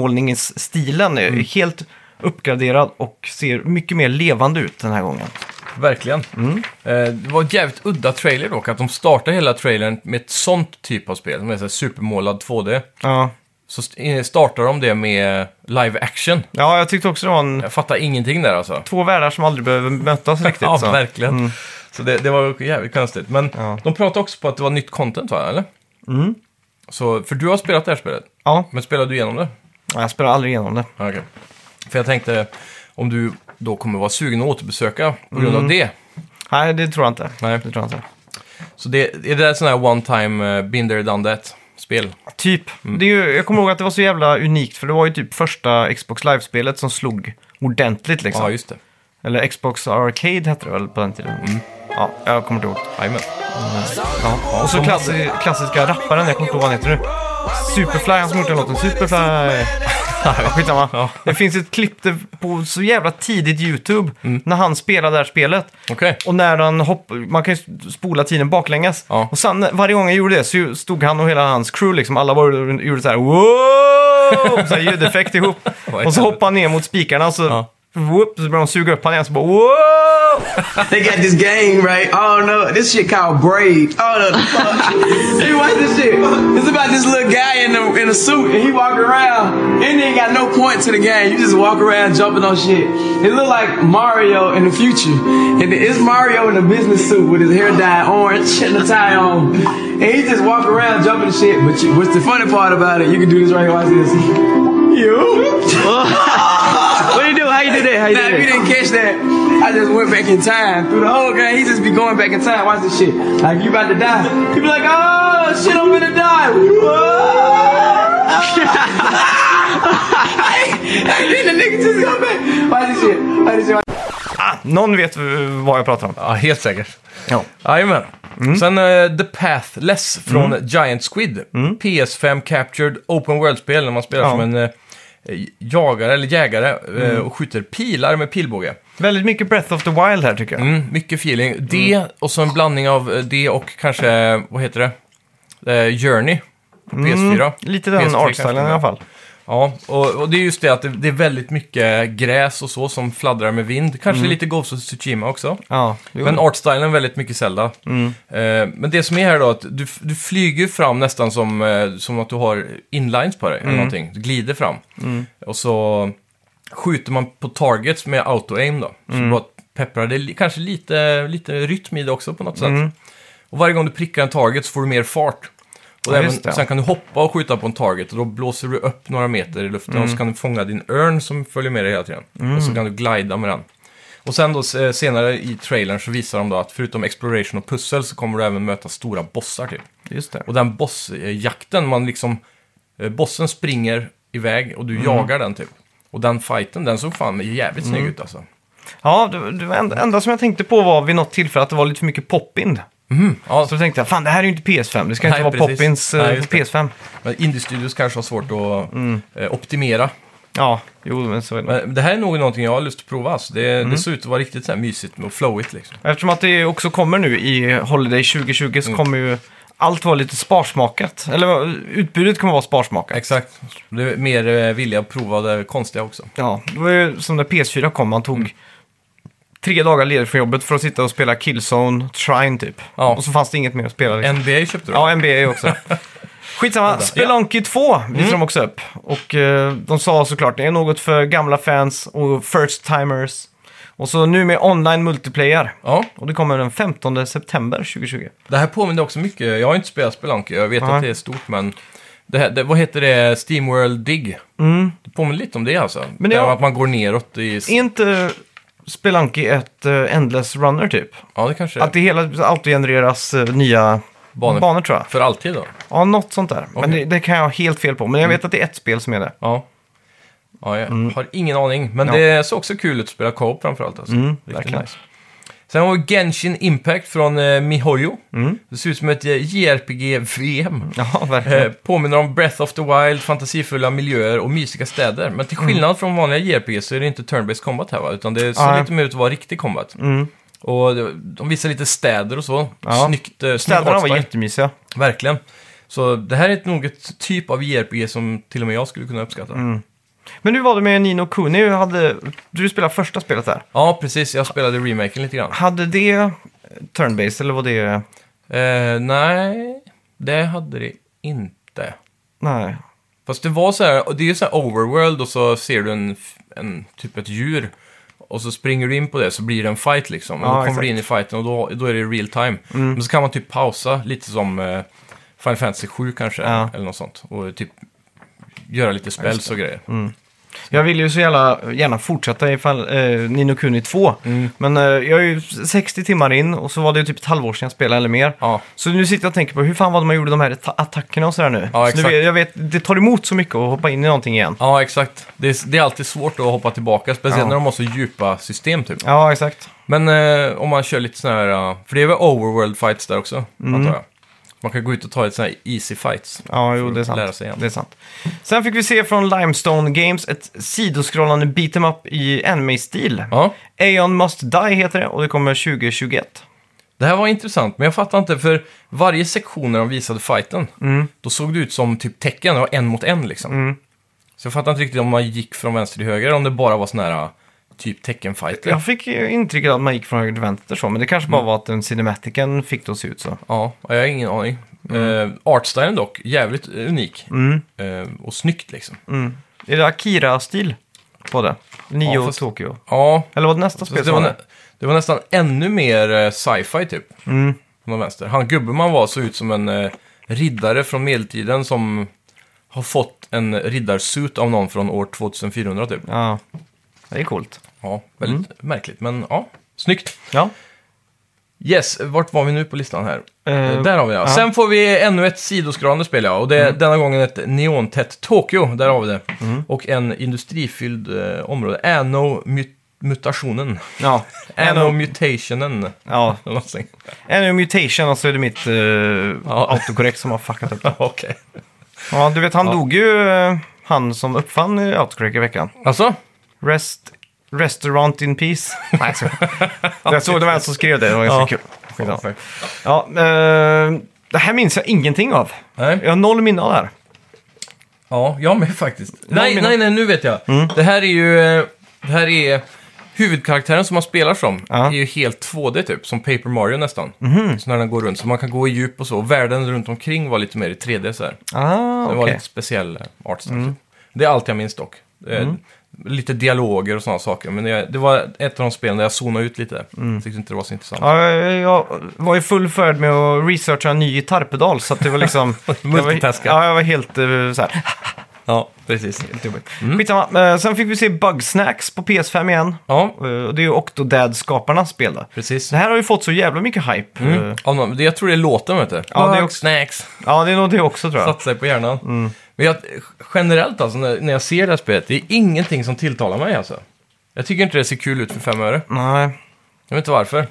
Speaker 1: oljemålningsstilen
Speaker 2: Mm.
Speaker 1: är helt uppgraderad och ser mycket mer levande ut den här gången.
Speaker 2: Verkligen.
Speaker 1: Mm.
Speaker 2: Eh, det var en jävligt udda trailer dock, att de startar hela trailern med ett sånt typ av spel, med så här supermålad 2D.
Speaker 1: Ja.
Speaker 2: Så st- eh, startar de det med live action.
Speaker 1: ja, jag tyckte också det var en...
Speaker 2: Jag fattar ingenting där alltså.
Speaker 1: Två världar som aldrig behöver mötas riktigt.
Speaker 2: ja,
Speaker 1: så. Mm.
Speaker 2: verkligen. Så det, det var jävligt konstigt. Men
Speaker 1: Ja. Mm.
Speaker 2: de pratade också på att det var nytt content va, eller? Så, för du har spelat det här spelet,
Speaker 1: Ja,
Speaker 2: men spelade du igenom det?
Speaker 1: Nej, jag spelar aldrig igenom det.
Speaker 2: Ja, Okej. För jag tänkte, om du då kommer vara sugen att återbesöka på grund
Speaker 1: Mm.
Speaker 2: av det.
Speaker 1: Nej, det tror jag inte.
Speaker 2: Nej.
Speaker 1: Det tror jag inte.
Speaker 2: Så det, är det där sån här one time eh, been there done that-spel?
Speaker 1: Typ. Det är ju, jag kommer ihåg att det var så jävla unikt, för det var ju typ första Xbox Live-spelet som slog ordentligt liksom.
Speaker 2: Ja, just det.
Speaker 1: Eller Xbox Arcade hette det väl på den tiden. Ja, jag kommer inte ihåg.
Speaker 2: Jajamän.
Speaker 1: Mm. Ja. Och så klassi klassiska rapparen, jag kommer inte ihåg vad han heter nu. Superfly, han som gjort den låten. Superfly. Ja, skitsamma.
Speaker 2: Ja.
Speaker 1: Det finns ett klipp där på så jävla tidigt YouTube när han spelar det här spelet.
Speaker 2: Okej.
Speaker 1: Och när han hopp, man kan ju spola tiden baklänges.
Speaker 2: Ja.
Speaker 1: Och sen varje gång jag gjorde det så stod han och hela hans crew liksom, alla var, gjorde så här wow! Så här ljudeffekt ihop. och så hoppade han ner mot spikarna och så,
Speaker 2: Ja.
Speaker 1: whoop, så började de suga upp han igen så bara wow!
Speaker 4: They got this game, right? Oh no, this shit called Braid. Oh no, the fuck. Hey, watch this shit. It's about this little guy in a, in a suit and he walking around and he ain't got no point to the game. You just walk around jumping on shit. It look like Mario in the future. And it's Mario in a business suit with his hair dyed orange and a tie on. And he just walk around jumping shit. But you, what's the funny part about it? You can do this right here. Watch this. You? What you do? How you do that? How you now, if you didn't catch that, I just went back in time. Through the whole game, he just be going back in time. Watch this shit. Like, you about to die. He be like, oh, shit, I'm gonna die. Whoa. and then the nigga just go back. Watch this shit. Watch this shit.
Speaker 1: Ah, någon vet eh, vad jag pratar om.
Speaker 2: Ja, helt säkert.
Speaker 1: Ja.
Speaker 2: Jajamän. Sen eh, The Pathless från Giant Squid. PS5 Captured Open World-spel när man spelar
Speaker 1: Ja.
Speaker 2: som en eh, jagare eller jägare eh, och skjuter pilar med pilbåge.
Speaker 1: Väldigt mycket Breath of the Wild här tycker jag.
Speaker 2: Mm, mycket feeling. Det och så en blandning av eh, det och kanske, eh, vad heter det? Eh, Journey. på PS4.
Speaker 1: Lite den
Speaker 2: PS3 kanske.
Speaker 1: artstylen i alla fall.
Speaker 2: Ja, och, och det är just det att det, det är väldigt mycket gräs och så som fladdrar med vind. Kanske lite Ghost of Tsushima också.
Speaker 1: Ja, jo.
Speaker 2: Men artstylen är väldigt mycket Zelda. Eh, men det som är här då, att du, du flyger ju fram nästan som, eh, som att du har inlines på dig. Eller någonting. Du glider fram. Och så skjuter man på targets med auto-aim då. Så bara pepprar det li- kanske lite, lite rytm i det också på något sätt. Och varje gång du prickar en target så får du mer fart. Och
Speaker 1: Ja,
Speaker 2: även,
Speaker 1: just det.
Speaker 2: sen kan du hoppa och skjuta på en target och då blåser du upp några meter i luften
Speaker 1: Mm.
Speaker 2: och så kan du fånga din örn som följer med dig hela tiden. Och så kan du glida med den. Och sen då eh, senare i trailern så visar de då att förutom exploration och pussel så kommer du även möta stora bossar typ.
Speaker 1: just det.
Speaker 2: Och den bossjakten, man liksom... eh, Bossen springer iväg och
Speaker 1: Mm.
Speaker 2: du jagar den typ. Och den fighten, den såg fan jävligt snygg
Speaker 1: Mm.
Speaker 2: ut alltså.
Speaker 1: Ja, det, det var enda, enda som jag tänkte på var vid något tillfälle att det var lite för mycket pop-in.
Speaker 2: Ja,
Speaker 1: Så då tänkte jag, fan det här är ju inte PS5, det ska
Speaker 2: Nej,
Speaker 1: inte vara
Speaker 2: precis.
Speaker 1: pop-ins eh,
Speaker 2: Nej,
Speaker 1: på
Speaker 2: just det.
Speaker 1: PS5.
Speaker 2: men indie-studios kanske har svårt att
Speaker 1: Mm.
Speaker 2: eh, optimera.
Speaker 1: Ja, jo men så är det.
Speaker 2: Men det här är nog någonting jag har lust att prova alltså. Det,
Speaker 1: Mm.
Speaker 2: det ser ut att vara riktigt så här mysigt och flowigt liksom.
Speaker 1: Eftersom att det också kommer nu i Holiday 2020 så kommer ju allt vara lite sparsmakat. Eller eh, utbudet kommer vara sparsmakat.
Speaker 2: Exakt. Det är mer eh, vilja att prova det konstiga också.
Speaker 1: Ja, det var ju som när PS4 kom, man tog tre dagar ledigt från jobbet för att sitta och spela Killzone, Trine typ.
Speaker 2: Ja.
Speaker 1: Och så fanns det inget mer att spela. Liksom.
Speaker 2: NBA köpte du?
Speaker 1: Ja, NBA också. Skitsamma, Spelunky 2 visade de också upp. Och eh, de sa såklart, det är något för gamla fans och first-timers. Och så nu med online multiplayer.
Speaker 2: ja.
Speaker 1: Och det kommer den 15 september 2020.
Speaker 2: Det här påminner också mycket, jag har inte spelat Spelunky, jag vet
Speaker 1: Nej.
Speaker 2: att det är stort men... Det här, det, vad heter det? Steamworld Dig? Det påminner lite om det alltså.
Speaker 1: Mm. Men
Speaker 2: det
Speaker 1: jag-
Speaker 2: Att man går neråt i...
Speaker 1: Är inte Spelunky ett eh, endless runner typ?
Speaker 2: Ja, det kanske
Speaker 1: Att det hela, alltid genereras eh, nya banor.
Speaker 2: Banor.
Speaker 1: tror jag.
Speaker 2: För alltid då?
Speaker 1: Ja, något sånt där. Men
Speaker 2: Okej. Mm.
Speaker 1: det, det kan jag ha helt fel på. Men jag vet att det är ett spel som är det.
Speaker 2: Ja. Ja, jag har ingen aning. Men
Speaker 1: Mm. Ja. Mm,
Speaker 2: det såg också kul ut att spela co-op framförallt. Alltså. Riktigt
Speaker 1: verkligen.
Speaker 2: Sen har vi Genshin Impact från eh, Mihoyo. Det ser ut som ett eh, JRPG-VM.
Speaker 1: Mm. Ja, verkligen.
Speaker 2: Eh, påminner om Breath of the Wild, fantasifulla miljöer och mysiga städer. Men
Speaker 1: Mm.
Speaker 2: till skillnad från vanliga JRPG så är det inte turn-based combat här va? Utan det ser
Speaker 1: Nej. Mm.
Speaker 2: lite mer ut att vara riktig combat. Och det- de visar lite städer och så.
Speaker 1: Ja.
Speaker 2: Snyggt. eh, snygg
Speaker 1: Städerna var
Speaker 2: artstyle.
Speaker 1: jättemysiga.
Speaker 2: Verkligen. Så det här är ett- nog ett typ av JRPG som till och med jag skulle kunna uppskatta.
Speaker 1: Mm. Men hur var det med Nino Kuni? Hur Hade, du spelade första spelet där.
Speaker 2: Ja, precis. Jag spelade remaken lite grann.
Speaker 1: Hade det turnbase eller var det...
Speaker 2: Eh, nej, det hade det inte.
Speaker 1: Nej.
Speaker 2: Fast det var så här, och det är ju så här overworld och så ser du en, en typ ett djur. Och så springer du in på det så blir det en fight liksom. Och
Speaker 1: Ja,
Speaker 2: då kommer
Speaker 1: exakt. Mm.
Speaker 2: du in i fighten och då, då är det real time. Men så kan man typ pausa lite som eh, Final Fantasy 7 kanske,
Speaker 1: Ja.
Speaker 2: eller något sånt. Och typ göra lite spells och grejer.
Speaker 1: Mm. Jag vill ju så gärna, gärna fortsätta ifall eh, Nino Kuni 2.
Speaker 2: Mm.
Speaker 1: Men eh, jag är ju 60 timmar in och så var det ju typ ett halvår sedan jag spelade eller mer.
Speaker 2: Ja.
Speaker 1: Så nu sitter jag och tänker på hur fan var det man gjorde de här atta- attackerna och sådär nu.
Speaker 2: Ja,
Speaker 1: så nu
Speaker 2: exakt.
Speaker 1: vet, jag vet, det tar emot så mycket att hoppa in i någonting igen.
Speaker 2: Ja, exakt. Det är, det är alltid svårt att hoppa tillbaka, speciellt
Speaker 1: Ja.
Speaker 2: när de har så djupa system typ.
Speaker 1: Ja, exakt.
Speaker 2: Men eh, om man kör lite sådana här, eh, för det är väl overworld fights där också,
Speaker 1: Mm.
Speaker 2: antar jag. Man kan gå ut och ta lite sådana här easy fights.
Speaker 1: Ja, jo, det är
Speaker 2: att lära
Speaker 1: sant.
Speaker 2: sig igen.
Speaker 1: det är sant. Sen fick vi se från Limestone Games ett sidoskrollande beat em up i anime-stil.
Speaker 2: Ja.
Speaker 1: Aeon Must Die heter det och det kommer 2021.
Speaker 2: Det här var intressant, men jag fattar inte, för varje sektion när de visade fighten, då såg det ut som typ tecken, det var en mot en liksom. Så jag fattar inte riktigt om man gick från vänster till höger, om det bara var sån här typ teckenfighter.
Speaker 1: Jag fick ju intrycket att man gick från höger till vänster så, men det kanske
Speaker 2: Mm.
Speaker 1: bara var att den cinematiken fick det att se ut så.
Speaker 2: Ja, jag har ingen aning. Eh, artstylen dock, jävligt eh, unik. Eh, och snyggt liksom.
Speaker 1: Är det Akira-stil på det? Nio
Speaker 2: Ja, fast-
Speaker 1: Tokyo.
Speaker 2: Ja,
Speaker 1: Eller var det nästa spel
Speaker 2: det
Speaker 1: som
Speaker 2: var,
Speaker 1: var
Speaker 2: nä-
Speaker 1: det?
Speaker 2: det var nästan ännu mer eh, sci-fi typ.
Speaker 1: Mm.
Speaker 2: På någon vänster. Han gubben man var såg ut som en eh, riddare från medeltiden som har fått en riddarsuit av någon från år 2400 typ.
Speaker 1: Ja, det är coolt.
Speaker 2: Ja, väldigt
Speaker 1: Mm.
Speaker 2: märkligt, men ja, snyggt.
Speaker 1: Ja,
Speaker 2: Yes, vart var vi nu på listan här?
Speaker 1: Eh,
Speaker 2: där har vi det.
Speaker 1: ja. Mm.
Speaker 2: Sen får vi ännu ett sidoskrollande spel, ja. Och det är denna gången ett neontätt Tokyo, där har vi det. Och en industrifylld eh, område, Anno My- mutationen.
Speaker 1: Ja. Anno,
Speaker 2: Anomutationen.
Speaker 1: ja.
Speaker 2: Eller någonting.
Speaker 1: Anno mutation och så är det mitt eh, autocorrect som har fuckat upp.
Speaker 2: Okej.
Speaker 1: Ja, du vet han dog ju, eh, han som uppfann eh, autocorrect i veckan.
Speaker 2: Alltså?
Speaker 1: Rest, restaurant in peace. Nej, jag skojar. Jag såg det var en som skrev det, det var ganska
Speaker 2: Ja.
Speaker 1: kul. Skitsamma. Ja, eh, det här minns jag ingenting av.
Speaker 2: Nej.
Speaker 1: Jag har noll minne av det här.
Speaker 2: Ja, jag med faktiskt. Nej,
Speaker 1: mina-
Speaker 2: nej, nej, nu vet jag. Det här är ju... eh, Det här är huvudkaraktären som man spelar som.
Speaker 1: Ja.
Speaker 2: är ju helt 2D typ, som Paper Mario nästan. Så när den går runt. Så man kan gå i djup och så. Och världen runt omkring var lite mer i 3D så här.
Speaker 1: Ah,
Speaker 2: Det
Speaker 1: okej.
Speaker 2: var lite speciell eh, art style, typ. Det är allt jag minns dock. Det är Lite dialoger och sådana saker. Men det, det var ett av de spelen där jag zonade ut lite. Tyckte inte det var så intressant.
Speaker 1: Ja, jag- jag var i full färd med att researcha en ny gitarrpedal så att det var liksom...
Speaker 2: Multitaska.
Speaker 1: Jag var, ja, jag var helt eh, så här.
Speaker 2: Ja, precis. Mm.
Speaker 1: Skitsamma. Eh, Sen fick vi se Bugsnacks på PS5 igen.
Speaker 2: Ja,
Speaker 1: Eh, Och det är ju Octodad-skaparnas spel då.
Speaker 2: precis.
Speaker 1: Det här har ju fått så jävla mycket hype. Eh,
Speaker 2: Av någon- det- Jag tror det är låten, vet du.
Speaker 1: Ja, det är
Speaker 2: Bug
Speaker 1: också-
Speaker 2: Snacks.
Speaker 1: Ja, Mm. det är nog det också tror jag.
Speaker 2: Satt sig på hjärnan. Men jag, generellt alltså, när, när jag ser det här spelet, det är ingenting som tilltalar mig alltså. Jag tycker inte det ser kul ut för fem öre.
Speaker 1: Nej,
Speaker 2: Jag vet inte varför.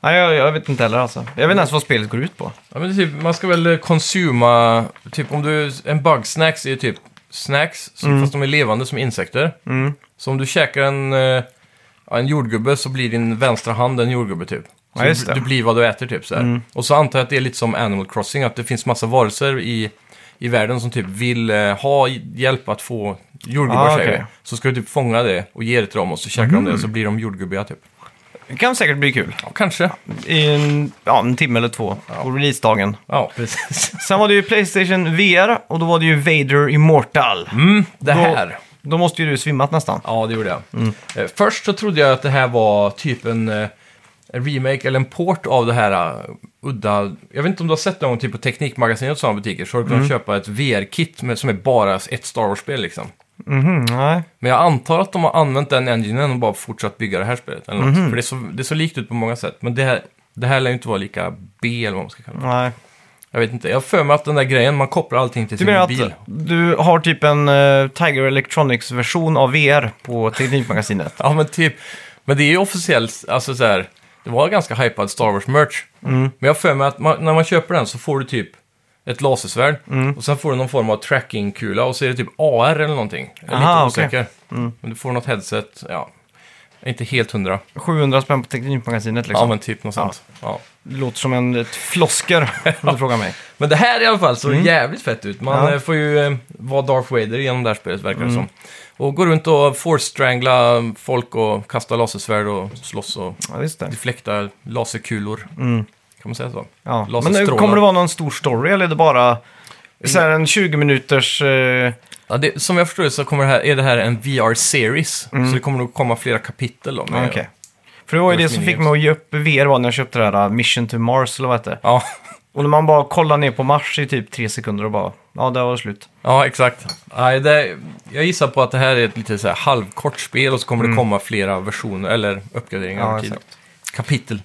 Speaker 1: Nej jag, jag vet inte heller alltså. Jag vet inte ens vad spelet går ut på.
Speaker 2: Ja, men det är typ, man ska väl eh, konsuma, typ om du, en bugsnacks är ju typ snacks, som,
Speaker 1: Mm.
Speaker 2: fast de är levande som insekter. Så om du käkar en, eh, ja, en jordgubbe så blir din vänstra hand en jordgubbe typ. Så
Speaker 1: Ja, just
Speaker 2: du,
Speaker 1: det. Mm.
Speaker 2: du blir vad du äter typ så här. Och så antar jag att det är lite som Animal Crossing, att det finns massa varelser i, i världen som typ vill eh, ha hj- hjälp att få jordgubbar
Speaker 1: Ah,
Speaker 2: säger vi.
Speaker 1: okej. Mm.
Speaker 2: Så ska du typ fånga det och ge det till dem och så käkar de det och så blir de jordgubbiga typ.
Speaker 1: Det kan säkert bli kul.
Speaker 2: Ja, kanske.
Speaker 1: I en, ja, en timme eller två på releasedagen.
Speaker 2: Ja, precis.
Speaker 1: Sen var det ju Playstation VR och då var det ju Vader Immortal.
Speaker 2: Mm, det här.
Speaker 1: Då, då måste ju du svimmat nästan.
Speaker 2: Ja, det gjorde jag. Eh, Först så trodde jag att det här var typ en eh, en remake eller en port av det här eh, udda... Jag vet inte om du har sett det någon gång typ på Teknikmagasinet och sådana butiker. Så har du
Speaker 1: Mm.
Speaker 2: kunnat köpa ett VR-kit med, som är bara ett Star Wars-spel liksom.
Speaker 1: Mhm, nej.
Speaker 2: Men jag antar att de har använt den enginen och bara fortsatt bygga det här spelet. Eller något.
Speaker 1: Mhm.
Speaker 2: För det är, så, det är så likt ut på många sätt. Men det här, det här lär ju inte vara lika B eller vad man ska kalla det.
Speaker 1: nej.
Speaker 2: Jag vet inte. Jag har för mig att den där grejen, man kopplar allting till
Speaker 1: Du
Speaker 2: sin
Speaker 1: menar
Speaker 2: mobil.
Speaker 1: att du har typ en eh, Tiger Electronics-version av VR på Teknikmagasinet?
Speaker 2: Ja, men typ. Men det är ju officiellt, alltså så här, det var ganska hypad Star Wars-merch.
Speaker 1: Mm.
Speaker 2: Men jag har för mig att man, när man köper den så får du typ ett lasersvärd
Speaker 1: Mm.
Speaker 2: och sen får du någon form av tracking-kula och så är det typ AR eller någonting. Jag är
Speaker 1: Aha, Mm.
Speaker 2: lite osäker. Men du får något headset, ja. Inte helt hundra.
Speaker 1: 700 spänn på Teknikmagasinet liksom.
Speaker 2: Ja, men typ något sånt. Ja.
Speaker 1: Det låter som en ett flosker om du frågar mig.
Speaker 2: Men det här i alla fall såg jävligt fett ut. Man
Speaker 1: Mm. Ja. Mm.
Speaker 2: eh, får ju eh, vara Darth Vader genom det här spelet, verkar det som. Och gå runt och force-strangla folk och kasta lasersvärd och slåss och
Speaker 1: Ja, just det.
Speaker 2: deflekta laserkulor.
Speaker 1: Mm.
Speaker 2: Kan man säga så?
Speaker 1: Ja. Men
Speaker 2: Laserstrålar.
Speaker 1: nu kommer det vara någon stor story eller är det bara så här en 20 minuters... eh,
Speaker 2: Ja, det, som jag förstår det så kommer det här, är det här en VR-series. Så det kommer nog komma flera kapitel då.
Speaker 1: Ja,
Speaker 2: med-
Speaker 1: Mm. Ah, okej. För det var ju det som fick mig att ge upp VR var när jag köpte det här uh, Mission to Mars eller vad det hette.
Speaker 2: Ja.
Speaker 1: Och när man bara kollar ner på Mars i typ tre sekunder och bara, ja där var det slut.
Speaker 2: ja, exakt. Nej, det, jag gissar på att det här är ett lite så här halvkort spel och så kommer det komma flera versioner eller uppgraderingar
Speaker 1: Mm. Ja, Mm.
Speaker 2: över tid. Kapitel.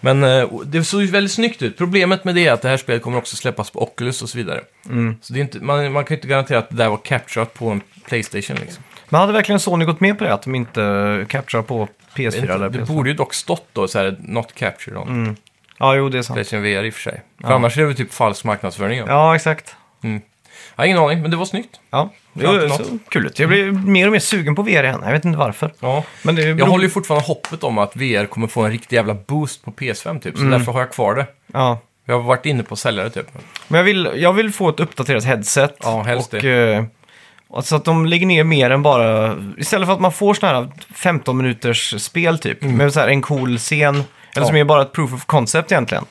Speaker 2: Men eh, och det såg ju väldigt snyggt ut. Problemet med det är att det här spelet kommer också släppas på Oculus och så vidare.
Speaker 1: Mm.
Speaker 2: Så det är inte, man, man kan ju inte garantera att det där var capturat på en Playstation liksom.
Speaker 1: Men hade verkligen Sony gått med på det, att de inte eh, capturear på PS4
Speaker 2: Det,
Speaker 1: eller
Speaker 2: det
Speaker 1: PS5?
Speaker 2: borde ju dock stått då så här, not captured on
Speaker 1: Mm. Ja, jo det är sant.
Speaker 2: Playstation VR i och för sig. För annars är det väl typ falsk marknadsföring. Ja.
Speaker 1: Ja, exakt.
Speaker 2: Jag har ingen aning, men det var snyggt.
Speaker 1: Ja, det
Speaker 2: Ja,
Speaker 1: är
Speaker 2: något.
Speaker 1: så kul ut. Jag blir mer och mer sugen på VR igen. Jag vet inte varför.
Speaker 2: Ja.
Speaker 1: Mm. Men det är
Speaker 2: Jag håller ju fortfarande hoppet om att VR kommer få en riktig jävla boost på PS5 typ,
Speaker 1: Mm.
Speaker 2: så därför har jag kvar det.
Speaker 1: Ja.
Speaker 2: Jag har varit inne på säljare typ.
Speaker 1: Men jag vill, jag vill få ett uppdaterat headset.
Speaker 2: Ja, helst
Speaker 1: och,
Speaker 2: det.
Speaker 1: eh, och så att de lägger ner mer än bara... Istället för att man får sådana här 15 minuters spel typ. Med så här en cool scen. Eller
Speaker 2: Ja.
Speaker 1: som är bara ett proof of concept egentligen.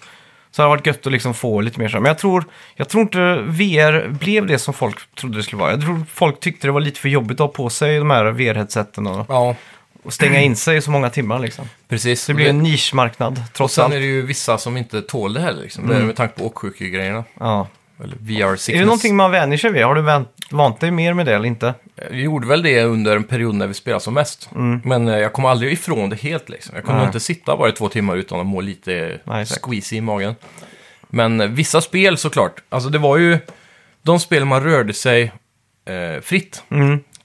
Speaker 1: Så det har varit gött att liksom få lite mer så. här. Men jag tror, jag tror inte VR blev det som folk trodde det skulle vara. Jag tror folk tyckte det var lite för jobbigt att ha på sig de här VR-headseten och,
Speaker 2: Ja,
Speaker 1: och stänga in sig i så många timmar liksom.
Speaker 2: precis.
Speaker 1: Det blir en nischmarknad
Speaker 2: och
Speaker 1: trots
Speaker 2: sen
Speaker 1: allt.
Speaker 2: är det ju vissa som inte tål det heller liksom. Det är med tanke på åksjukegrejerna.
Speaker 1: Ja.
Speaker 2: Eller VR sickness.
Speaker 1: Är det någonting man vänjer sig vid? Har du vänt, vant dig mer med det eller inte?
Speaker 2: Vi gjorde väl det under en period när vi spelade som mest. Men eh, jag kom aldrig ifrån det helt liksom. Jag kunde
Speaker 1: Mm. Nej.
Speaker 2: inte sitta bara i två timmar utan att må lite
Speaker 1: Nej, exakt.
Speaker 2: squeezy i magen. Men eh, vissa spel såklart. Alltså det var ju de spel man rörde sig eh, fritt.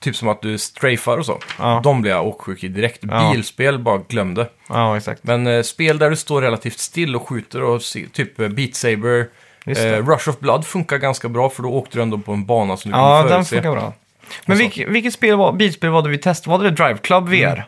Speaker 2: typ som att du strafar och så.
Speaker 1: Mm. Ja.
Speaker 2: De blir jag åksjuk i direkt.
Speaker 1: Ja.
Speaker 2: Bilspel bara glömde.
Speaker 1: Ja, exakt.
Speaker 2: Men eh, spel där du står relativt still och skjuter och se, typ eh, Beat Saber,
Speaker 1: Just det.
Speaker 2: eh, Rush of Blood funkar ganska bra för då åkte du ändå på en bana som du
Speaker 1: Ja,
Speaker 2: kunde
Speaker 1: den
Speaker 2: förutse.
Speaker 1: funkar bra. Men vilk, vilket spel var, bilspel var det vi testade? Var det Drive Club VR?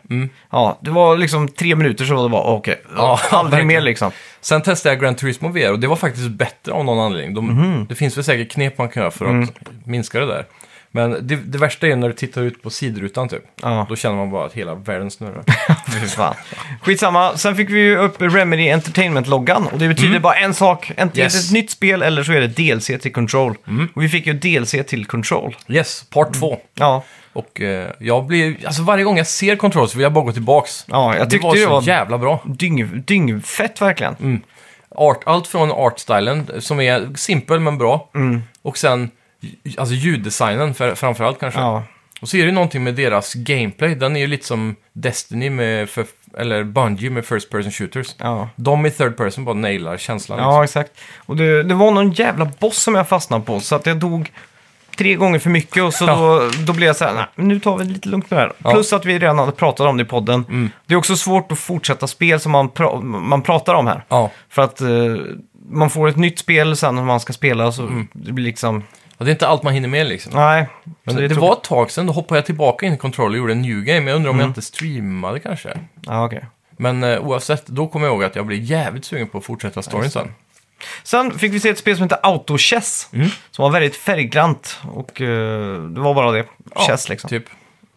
Speaker 1: Ja, det var liksom tre minuter så var det bara okej,
Speaker 2: Mm, Ja,
Speaker 1: aldrig
Speaker 2: verkligen.
Speaker 1: mer liksom.
Speaker 2: Sen testade jag Gran Turismo VR och det var faktiskt bättre av någon anledning. De,
Speaker 1: Mhm.
Speaker 2: Det finns väl säkert knep man kan göra för att
Speaker 1: Mm.
Speaker 2: minska det där. Men det, det värsta är när du tittar ut på sidrutan typ.
Speaker 1: Ja.
Speaker 2: Då känner man bara att hela världen snurrar.
Speaker 1: Fy fan. Skitsamma, sen fick vi ju upp Remedy Entertainment-loggan och det betyder bara en sak. Antingen
Speaker 2: Mm. Yes. Mm.
Speaker 1: är det ett nytt spel eller så är det DLC till Control. Och vi fick ju DLC till Control.
Speaker 2: yes, part två.
Speaker 1: Ja,
Speaker 2: Och eh, jag blir, alltså varje gång jag ser Control så vill jag bara gå tillbaks.
Speaker 1: ja jag
Speaker 2: det
Speaker 1: tyckte
Speaker 2: var
Speaker 1: det
Speaker 2: så
Speaker 1: var
Speaker 2: jävla bra.
Speaker 1: dyng, dyngfett verkligen.
Speaker 2: Art, allt från artstylen, som är simpel men bra.
Speaker 1: Mm.
Speaker 2: Och sen j- alltså ljuddesignen för, framförallt kanske.
Speaker 1: Ja.
Speaker 2: Och så är det ju någonting med deras gameplay. Den är ju lite som Destiny med, för, eller Bungie med First Person Shooters.
Speaker 1: Ja.
Speaker 2: De i Third Person bara nailar känslan. liksom.
Speaker 1: Ja, exakt. Och det, det var någon jävla boss som jag fastnade på, så att jag dog tre gånger för mycket och så
Speaker 2: Ja.
Speaker 1: då, då blev jag så här, nej, men nu tar vi det lite lugnt med det här.
Speaker 2: Ja. Mm.
Speaker 1: Plus att vi redan hade pratat om det i podden. Det är också svårt att fortsätta spel som man, pra- man pratar om här.
Speaker 2: Ja.
Speaker 1: För att eh, man får ett nytt spel sen när man ska spela så
Speaker 2: Mm.
Speaker 1: det blir liksom,
Speaker 2: Och det är inte allt man hinner med liksom.
Speaker 1: nej.
Speaker 2: Men
Speaker 1: Så
Speaker 2: det,
Speaker 1: tog-
Speaker 2: var ett tag sedan, då hoppade jag tillbaka in i Control och gjorde en new game. Jag undrar om
Speaker 1: Mm.
Speaker 2: jag inte streamade kanske.
Speaker 1: Ja, okej.
Speaker 2: Men eh, oavsett, då kommer jag ihåg att jag blev jävligt sugen på att fortsätta storyn sen.
Speaker 1: Sen fick vi se ett spel som heter Auto Chess.
Speaker 2: Mm.
Speaker 1: Som var väldigt färggrant och eh, det var bara det. Chess liksom.
Speaker 2: Typ.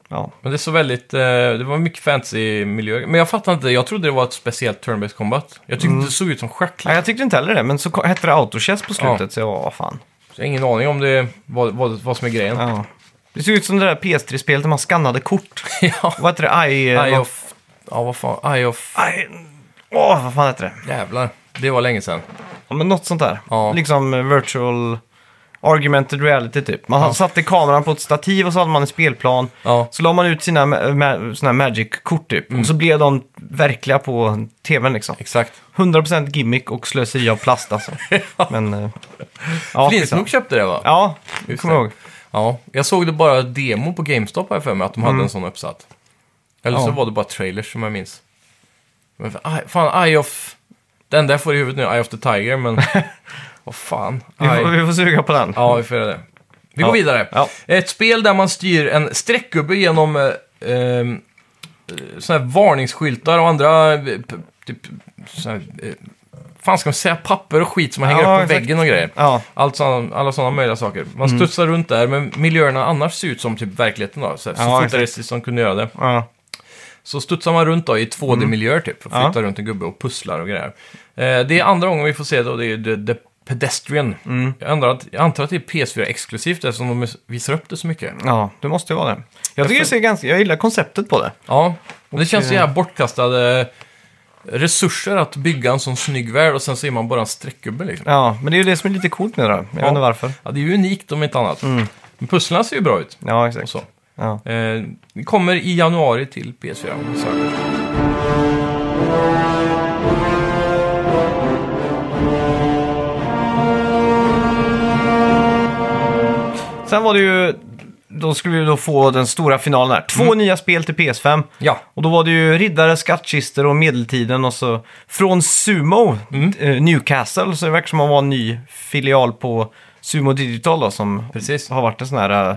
Speaker 1: Ja.
Speaker 2: Men det såg väldigt, eh, det var mycket fancy miljö. Men jag fattar inte, jag trodde det var ett speciellt turn-based combat. Jag tyckte
Speaker 1: Mm.
Speaker 2: det såg ut som schack.
Speaker 1: Nej, jag tyckte inte heller det, men så ko- hette det autochess på slutet,
Speaker 2: Ja.
Speaker 1: så jag var, "Vad fan.
Speaker 2: Så jag har ingen aning om det, vad, vad, vad som är grejen.
Speaker 1: Ja. Det såg ut som det där PS3-spelet där man skannade kort.
Speaker 2: Ja.
Speaker 1: vad hette det? I...
Speaker 2: Eye of... Ja, vad fan. Eye of...
Speaker 1: I... Åh, vad fan hette det?
Speaker 2: Jävlar. Det var länge sedan.
Speaker 1: Ja, men något sånt där.
Speaker 2: Ja.
Speaker 1: Liksom eh, virtual argumented reality typ. Man satte kameran på ett stativ och så hade man en spelplan.
Speaker 2: Ja. Mm.
Speaker 1: Så la man ut sina ma- ma- såna här magic-kort typ. Och så blev de verkliga på tvn liksom.
Speaker 2: Exakt.
Speaker 1: 100% gimmick och slöseri av plast alltså. men... eh, Ja, skitsamma.
Speaker 2: Flinsnook köpte det va?
Speaker 1: Ja,
Speaker 2: Just
Speaker 1: kommer jag ihåg.
Speaker 2: Ja. Jag såg det bara demo på GameStop här för mig, att de hade en sån uppsatt. Eller så
Speaker 1: Mm. Ja.
Speaker 2: var det bara trailers som jag minns. Men fan, fan, Eye of... Den där får i huvudet nu, Eye of the Tiger, men... vad fan.
Speaker 1: Vi får,
Speaker 2: Eye-
Speaker 1: vi får suga på den.
Speaker 2: Ja, vi får göra det. Vi går
Speaker 1: Ja.
Speaker 2: vidare.
Speaker 1: Ja.
Speaker 2: Ett spel där man styr en streckgubbe genom eh, eh, såna här varningsskyltar och andra... Eh, p- typ, såna här, eh, fan ska man säga? Papper och skit som man hänger
Speaker 1: Ja,
Speaker 2: upp på
Speaker 1: exakt.
Speaker 2: väggen och grejer.
Speaker 1: Ja.
Speaker 2: Allt såna, alla sådana möjliga saker. Man
Speaker 1: Mm.
Speaker 2: studsar runt där, men miljöerna annars ser ut som typ verkligheten då. Så, här, så
Speaker 1: Ja,
Speaker 2: fort
Speaker 1: exakt.
Speaker 2: realistiskt som kunde göra det.
Speaker 1: Ja.
Speaker 2: Så studsar man runt då i 2D-miljöer typ. Och
Speaker 1: Mm. Ja.
Speaker 2: flyttar runt en gubbe och pusslar och grejer. Eh, det är andra gången vi får se det och det är The, the Pedestrian.
Speaker 1: Mm.
Speaker 2: Jag, ändrar att, jag antar att det är PS4 exklusivt eftersom de visar upp det så mycket.
Speaker 1: Ja, det måste ju vara det. Jag, tycker det ser ganska, jag gillar konceptet på det.
Speaker 2: Ja, men det
Speaker 1: eh,
Speaker 2: känns så jävla bortkastade resurser att bygga en sån snygg värld och sen så är man bara en streckgubbe liksom.
Speaker 1: Ja, men det är ju det som är lite coolt med det. här. Jag vet inte varför.
Speaker 2: Ja, det är ju unikt om inte annat.
Speaker 1: Mm.
Speaker 2: Men pusslarna ser ju bra ut.
Speaker 1: Ja,
Speaker 2: Och
Speaker 1: exakt.
Speaker 2: så.
Speaker 1: Ja.
Speaker 2: Eh, det kommer i januari till PS4. Så.
Speaker 1: Sen var det ju... Då skulle vi då få den stora finalen här. Två nya spel till PS5.
Speaker 2: Mm. Ja.
Speaker 1: Och då var det ju riddare, skattkister och medeltiden och så från Sumo,
Speaker 2: Mm.
Speaker 1: eh, Newcastle. Så det verkar som att vara en ny filial på Sumo Digital då, som
Speaker 2: Precis.
Speaker 1: har varit en sån här, eh,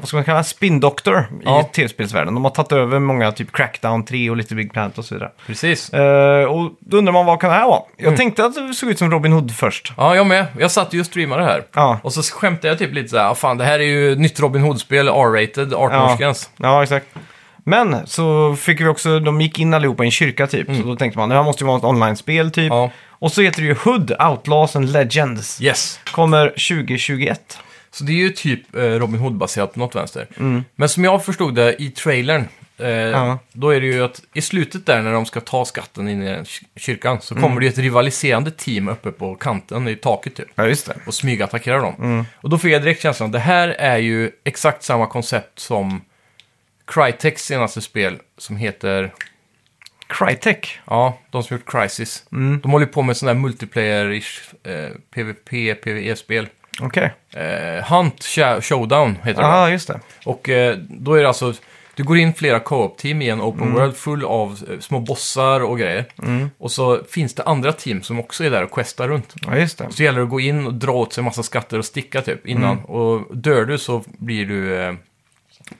Speaker 1: vad ska man kalla det, spindoktor i
Speaker 2: Ja.
Speaker 1: tv-spelsvärlden. De har tagit över många, typ Crackdown 3 och lite Big Planet och så vidare.
Speaker 2: Precis.
Speaker 1: Eh, och då undrar man vad kan det här vara? Jag
Speaker 2: Mm.
Speaker 1: tänkte att det såg ut som Robin Hood först.
Speaker 2: Ja, jag med. Jag satt ju och streamade här.
Speaker 1: Ja.
Speaker 2: Och så skämtade jag typ lite så här, "Ah, fan det här är ju nytt Robin Hood-spel, R-rated, 18-årsgräns.
Speaker 1: ja exakt. Men så fick vi också, de gick in allihopa i en kyrka typ. Så då tänkte man, det här måste ju vara ett online-spel typ.
Speaker 2: Mm. Ja.
Speaker 1: Och så heter det ju Hood, Outlaws and Legends.
Speaker 2: Yes.
Speaker 1: Kommer 2021.
Speaker 2: Så det är ju typ eh, Robin Hood-baserat på något vänster. Men som jag förstod det i trailern, eh,
Speaker 1: Mm. Ja.
Speaker 2: då är det ju att i slutet där när de ska ta skatten in i den kyr- kyrkan så
Speaker 1: Mm.
Speaker 2: kommer det ju ett rivaliserande team uppe på kanten i taket typ.
Speaker 1: Ja, just det.
Speaker 2: Och smygattackerar dem. Och då får jag direkt känslan, det här är ju exakt samma koncept som Crytex senaste spel som heter
Speaker 1: Crytek.
Speaker 2: Ja, de som gjort Crisis. De håller ju på med sådana här multiplayer-ish eh, PVP, PVE-spel.
Speaker 1: Okej.
Speaker 2: Eh, Hunt Sha- Showdown heter det.
Speaker 1: Ja, just det.
Speaker 2: Och eh, då är det alltså, du går in flera co-op-team i en open world full av eh, små bossar och grejer. Och så finns det andra team som också är där och questar runt.
Speaker 1: Ja, just det.
Speaker 2: Så gäller det att gå in och dra åt sig en massa skatter och sticka typ innan.
Speaker 1: Mm.
Speaker 2: Och dör du så blir du eh,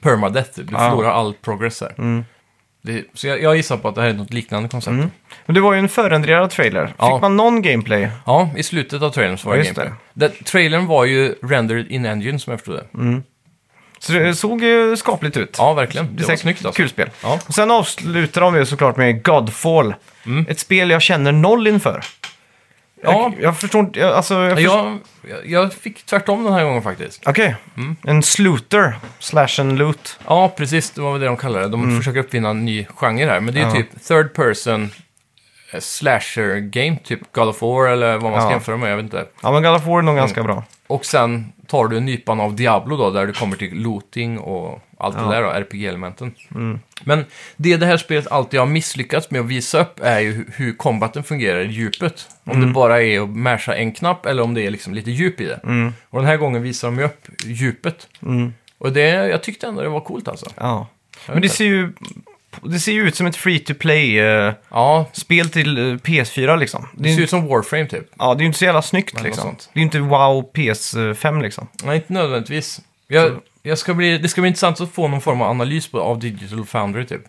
Speaker 2: permadeath. typ. Du
Speaker 1: Ah.
Speaker 2: förlorar all progress här.
Speaker 1: Mm.
Speaker 2: Det, så jag, jag gissar på att det här är något liknande koncept.
Speaker 1: Men det var ju en förändrad trailer. Fick
Speaker 2: Ja.
Speaker 1: man någon gameplay?
Speaker 2: Ja, i slutet av trailern så var
Speaker 1: Ja,
Speaker 2: det
Speaker 1: just
Speaker 2: gameplay. Det. trailern var ju rendered in engine som jag förstod det.
Speaker 1: Mm. Så det såg ju skapligt ut.
Speaker 2: Ja, verkligen. Det,
Speaker 1: Det är
Speaker 2: var
Speaker 1: säkert
Speaker 2: snyggt alltså.
Speaker 1: kul spel.
Speaker 2: Ja.
Speaker 1: Och sen avslutar de ju såklart med Godfall. Ett spel jag känner noll inför.
Speaker 2: Mm. Ja.
Speaker 1: Jag, jag förstår inte, jag, alltså... Jag förstår...
Speaker 2: Jag, jag, jag fick tvärtom den här gången faktiskt.
Speaker 1: Okej. En sluter slash en loot.
Speaker 2: Ja, precis. Det var väl det de kallade det. De försöker uppfinna en ny genre här. Men det är ju
Speaker 1: Mm. Ja.
Speaker 2: typ third person eh, slasher game, typ God of War eller vad man ska
Speaker 1: Ja.
Speaker 2: jämföra med. Jag vet inte.
Speaker 1: Ja, men God of War är nog ganska bra.
Speaker 2: Och sen tar du nypan av Diablo då, där du kommer till looting och allt
Speaker 1: Ja. Mm.
Speaker 2: det där då, RPG-elementen. Men det det här spelet alltid har misslyckats med att visa upp är ju hu- hur kombaten fungerar i djupet. Om
Speaker 1: Mm.
Speaker 2: det bara är att masha en knapp eller om det är liksom lite djup i det.
Speaker 1: Mm.
Speaker 2: Och den här gången visar de ju upp djupet. Och det, jag tyckte ändå det var coolt alltså.
Speaker 1: Ja. Men det ser ju... Det ser ju ut som ett free to play-spel
Speaker 2: Ja,
Speaker 1: till eh, PS4 liksom. Det
Speaker 2: det
Speaker 1: är,
Speaker 2: ser
Speaker 1: ju-
Speaker 2: ut som Warframe typ.
Speaker 1: ja, det är ju inte så jävla snyggt
Speaker 2: något
Speaker 1: liksom.
Speaker 2: sånt.
Speaker 1: Det är ju inte wow PS5 liksom.
Speaker 2: Nej, inte nödvändigtvis. Jag, jag ska bli, det ska bli intressant att få någon form av analys på, av Digital Foundry typ.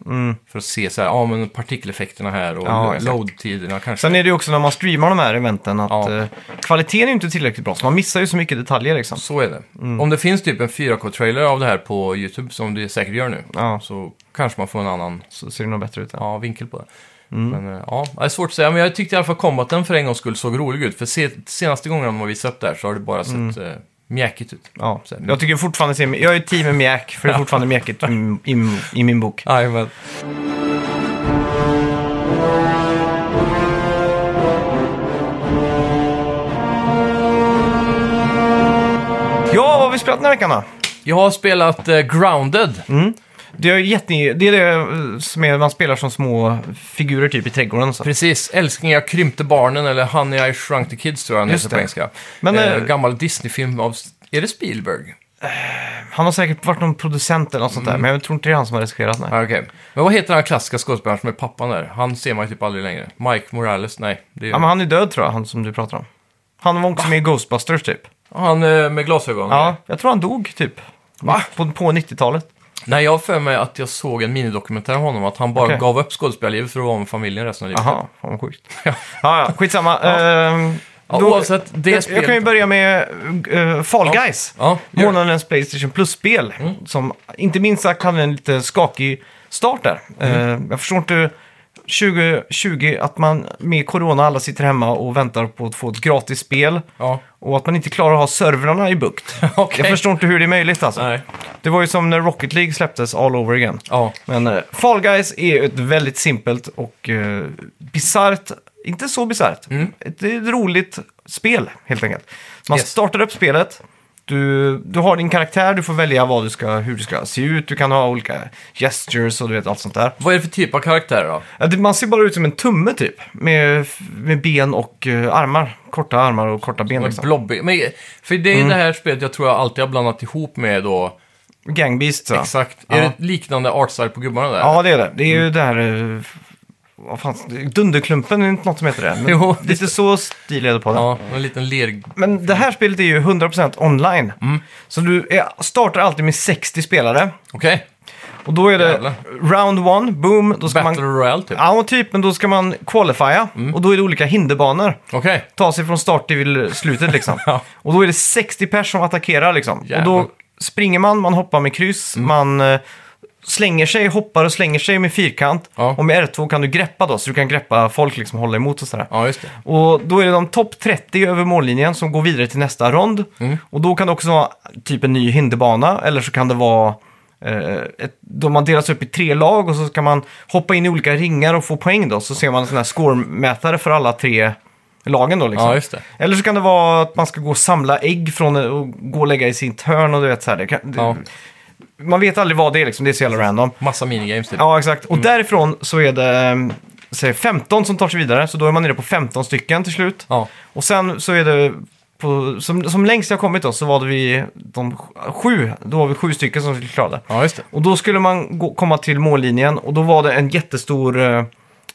Speaker 2: För att se så här, ja men partikeleffekterna här och
Speaker 1: Mm. Ja,
Speaker 2: lo-
Speaker 1: exakt.
Speaker 2: load-tiderna kanske.
Speaker 1: Sen är det ju också när man streamar de här eventen att
Speaker 2: Ja.
Speaker 1: eh, kvaliteten är ju inte tillräckligt bra. Så man missar ju så mycket detaljer liksom.
Speaker 2: Så är det. Om det finns typ en 4K-trailer av det här på YouTube, som det säkert gör nu,
Speaker 1: Ja.
Speaker 2: så kanske man får en annan
Speaker 1: Så ser det nog bättre ut. Ja.
Speaker 2: ja, vinkel på det.
Speaker 1: Mm.
Speaker 2: Men eh, ja, det är svårt att säga. Men jag tyckte i alla fall kombaten för en gångs skull såg rolig ut. För se, senaste gången de har visat upp det här så har det bara sett eh, mjäkigt ut.
Speaker 1: Mm. Ja. Jag tycker fortfarande ser, jag är team med mjäk, för det är fortfarande mjäkigt i, i, i min bok.
Speaker 2: Jajamän.
Speaker 1: Ja, vad har vi spelat den här veckan då?
Speaker 2: Jag har spelat eh, Grounded.
Speaker 1: Det är, jätte, det är det eh, som är, man spelar som små figurer typ i trädgården. och Så.
Speaker 2: Precis, Älskling jag krympte barnen eller Honey I shrunk the kids tror jag den
Speaker 1: Just
Speaker 2: heter på
Speaker 1: det.
Speaker 2: engelska.
Speaker 1: Men,
Speaker 2: eh,
Speaker 1: eh,
Speaker 2: gammal Disney-film av, är det Spielberg?
Speaker 1: Han har säkert varit någon producent eller något sånt där, men jag tror inte det är han som har regisserat. Nej.
Speaker 2: Ah, Okej. Men vad heter den klassiska skådespelaren som är pappan där? Han ser man ju typ aldrig längre. Mike Morales? Nej. Det är...
Speaker 1: Ja, men han är död tror jag, han som du pratar om. Han var också med i Ghostbusters typ.
Speaker 2: Han eh, med glasögon?
Speaker 1: Ja, jag tror han dog typ.
Speaker 2: Va?
Speaker 1: På, på 90-talet.
Speaker 2: Nej, jag har för mig att jag såg en minidokumentär om honom. Att han bara
Speaker 1: Okej.
Speaker 2: gav upp skådespelarlivet för att vara med familjen resten av livet.
Speaker 1: Jaha, fan vad sjukt. ja, ja, skitsamma. Ehm,
Speaker 2: Ja,
Speaker 1: då-
Speaker 2: oavsett, det
Speaker 1: jag, jag
Speaker 2: spelet
Speaker 1: kan ju
Speaker 2: då.
Speaker 1: börja med eh, Fall Guys.
Speaker 2: Ja, gör det. Mm.
Speaker 1: Månadens Playstation Plus-spel. Som inte minst sagt hade en lite skakig start där.
Speaker 2: Mm.
Speaker 1: Eh, jag förstår inte 2020 att man med corona alla sitter hemma och väntar på att få ett gratis spel.
Speaker 2: Ja.
Speaker 1: Och att man inte klarar att ha servrarna i bukt.
Speaker 2: Okej.
Speaker 1: Jag förstår inte hur det är möjligt alltså.
Speaker 2: Nej.
Speaker 1: Det var ju som när Rocket League släpptes all over again.
Speaker 2: Ja.
Speaker 1: Men eh, Fall Guys är ju ett väldigt simpelt och eh, bisarrt, inte så bisarrt, ett, ett roligt spel helt enkelt. Man
Speaker 2: Mm. Yes.
Speaker 1: startar upp spelet, du, du har din karaktär, du får välja vad du ska, hur du ska se ut, du kan ha olika gestures och du vet allt sånt där.
Speaker 2: Vad är det för typ av karaktärer då?
Speaker 1: Ja, det- Man ser bara ut som en tumme typ, med, med ben och eh, armar, korta armar och korta ben liksom.
Speaker 2: Blobby? Men, eh, för det är
Speaker 1: Mm.
Speaker 2: det här spelet jag tror jag alltid har blandat ihop med då...
Speaker 1: Gangbeast så.
Speaker 2: Exakt. Mm.
Speaker 1: Ja.
Speaker 2: Är det liknande artstyle på gubbarna där?
Speaker 1: Ja, det är det. Det är ju det här... eh, Vad fan, Dunderklumpen är inte något som heter det. Men
Speaker 2: Jo, just
Speaker 1: lite så stil är det på den.
Speaker 2: Ja, en liten ler...
Speaker 1: Men det här spelet är ju 100% online.
Speaker 2: Mm.
Speaker 1: Så du är, startar alltid med 60 spelare.
Speaker 2: Okej.
Speaker 1: Och då är det
Speaker 2: Jävlar.
Speaker 1: round one, boom. Då ska
Speaker 2: Battle Mm.
Speaker 1: man,
Speaker 2: Royale typ?
Speaker 1: ja, och typ, men då ska man qualifiera. Och då är det olika hinderbanor.
Speaker 2: Okej.
Speaker 1: Ta sig från start till slutet liksom.
Speaker 2: Ja.
Speaker 1: Och då är det 60 pers som attackerar liksom. Och
Speaker 2: Jävlar. Mm.
Speaker 1: då springer man, man hoppar med kryss, man eh, slänger sig, hoppar och slänger sig med fyrkant.
Speaker 2: Ja.
Speaker 1: Och med R2 kan du greppa då, så du kan greppa folk liksom, hålla emot och sådär.
Speaker 2: Ja, just det.
Speaker 1: Och då är det de topp 30 över mållinjen som går vidare till nästa rond.
Speaker 2: Mm.
Speaker 1: Och då kan det också vara typ en ny hinderbana, eller så kan det vara eh, ett, de har delats upp i tre lag och så kan man hoppa in i olika ringar och få poäng då. Så ser man en sån här scoremätare för alla tre lagen då liksom.
Speaker 2: Ja, just det.
Speaker 1: Eller så kan det vara att man ska gå och samla ägg från och gå och lägga i sin törn och du vet så här. Det kan, det,
Speaker 2: Ja.
Speaker 1: Man vet aldrig vad det är liksom, det är så jävla random.
Speaker 2: Massa minigames typ.
Speaker 1: Ja, exakt. Och därifrån så är det eh, säg 15 som tar sig vidare, så då är man nere på 15 stycken till slut.
Speaker 2: Ja.
Speaker 1: Och sen så är det på, som, som längst jag kommit då så var det vi de sj- sju, då var vi sju stycken som skulle klara det.
Speaker 2: Ja, just det.
Speaker 1: Och då skulle man gå, komma till mållinjen och då var det en jättestor eh,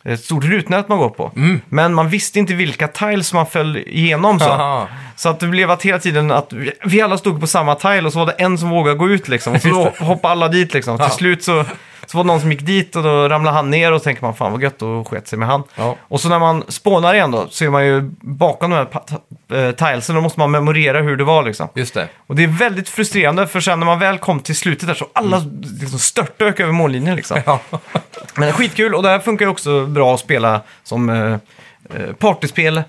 Speaker 1: ett stort rutnät man går på. Men man visste inte vilka tiles man föll igenom. Så,
Speaker 2: Mm. Aha.
Speaker 1: så att det blev att hela tiden att vi, vi alla stod på samma tile och så var det en som vågade gå ut liksom. Och så
Speaker 2: Just
Speaker 1: hoppade alla dit liksom. Till slut så, så var det någon som gick dit och då ramlade han ner och så tänker man fan vad gött och sket sig med han.
Speaker 2: Ja.
Speaker 1: Och så när man spånar igen då så är man ju bakom de här pa- ta- eh, tilesen. Då måste man memorera hur det var liksom.
Speaker 2: Just det.
Speaker 1: Och det är väldigt frustrerande för sen när man väl kom till slutet där så alla liksom störtdök över mållinjen liksom.
Speaker 2: Ja.
Speaker 1: Men det är skitkul och det här funkar ju också bra att spela som eh, eh, partyspel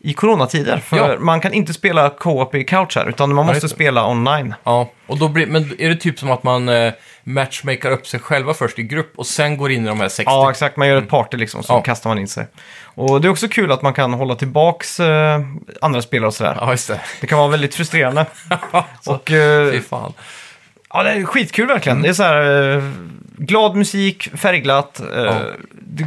Speaker 1: i coronatider. För
Speaker 2: Ja.
Speaker 1: man kan inte spela co-op i couch här utan man
Speaker 2: Nej,
Speaker 1: måste
Speaker 2: just det.
Speaker 1: spela online.
Speaker 2: Ja, och då blir, men är det typ som att man eh, matchmakar upp sig själva först i grupp och sen går in i de här 60?
Speaker 1: Ja, exakt. Man gör ett party liksom, så
Speaker 2: Ja.
Speaker 1: kastar man in sig. Och det är också kul att man kan hålla tillbaks eh, andra spelare och sådär.
Speaker 2: ja just det.
Speaker 1: Det kan vara väldigt frustrerande.
Speaker 2: så,
Speaker 1: och, eh,
Speaker 2: fy Mm. fan.
Speaker 1: Ja, det är skitkul verkligen. Det är så här eh, glad musik, färgglatt. eh,
Speaker 2: Ja.
Speaker 1: Det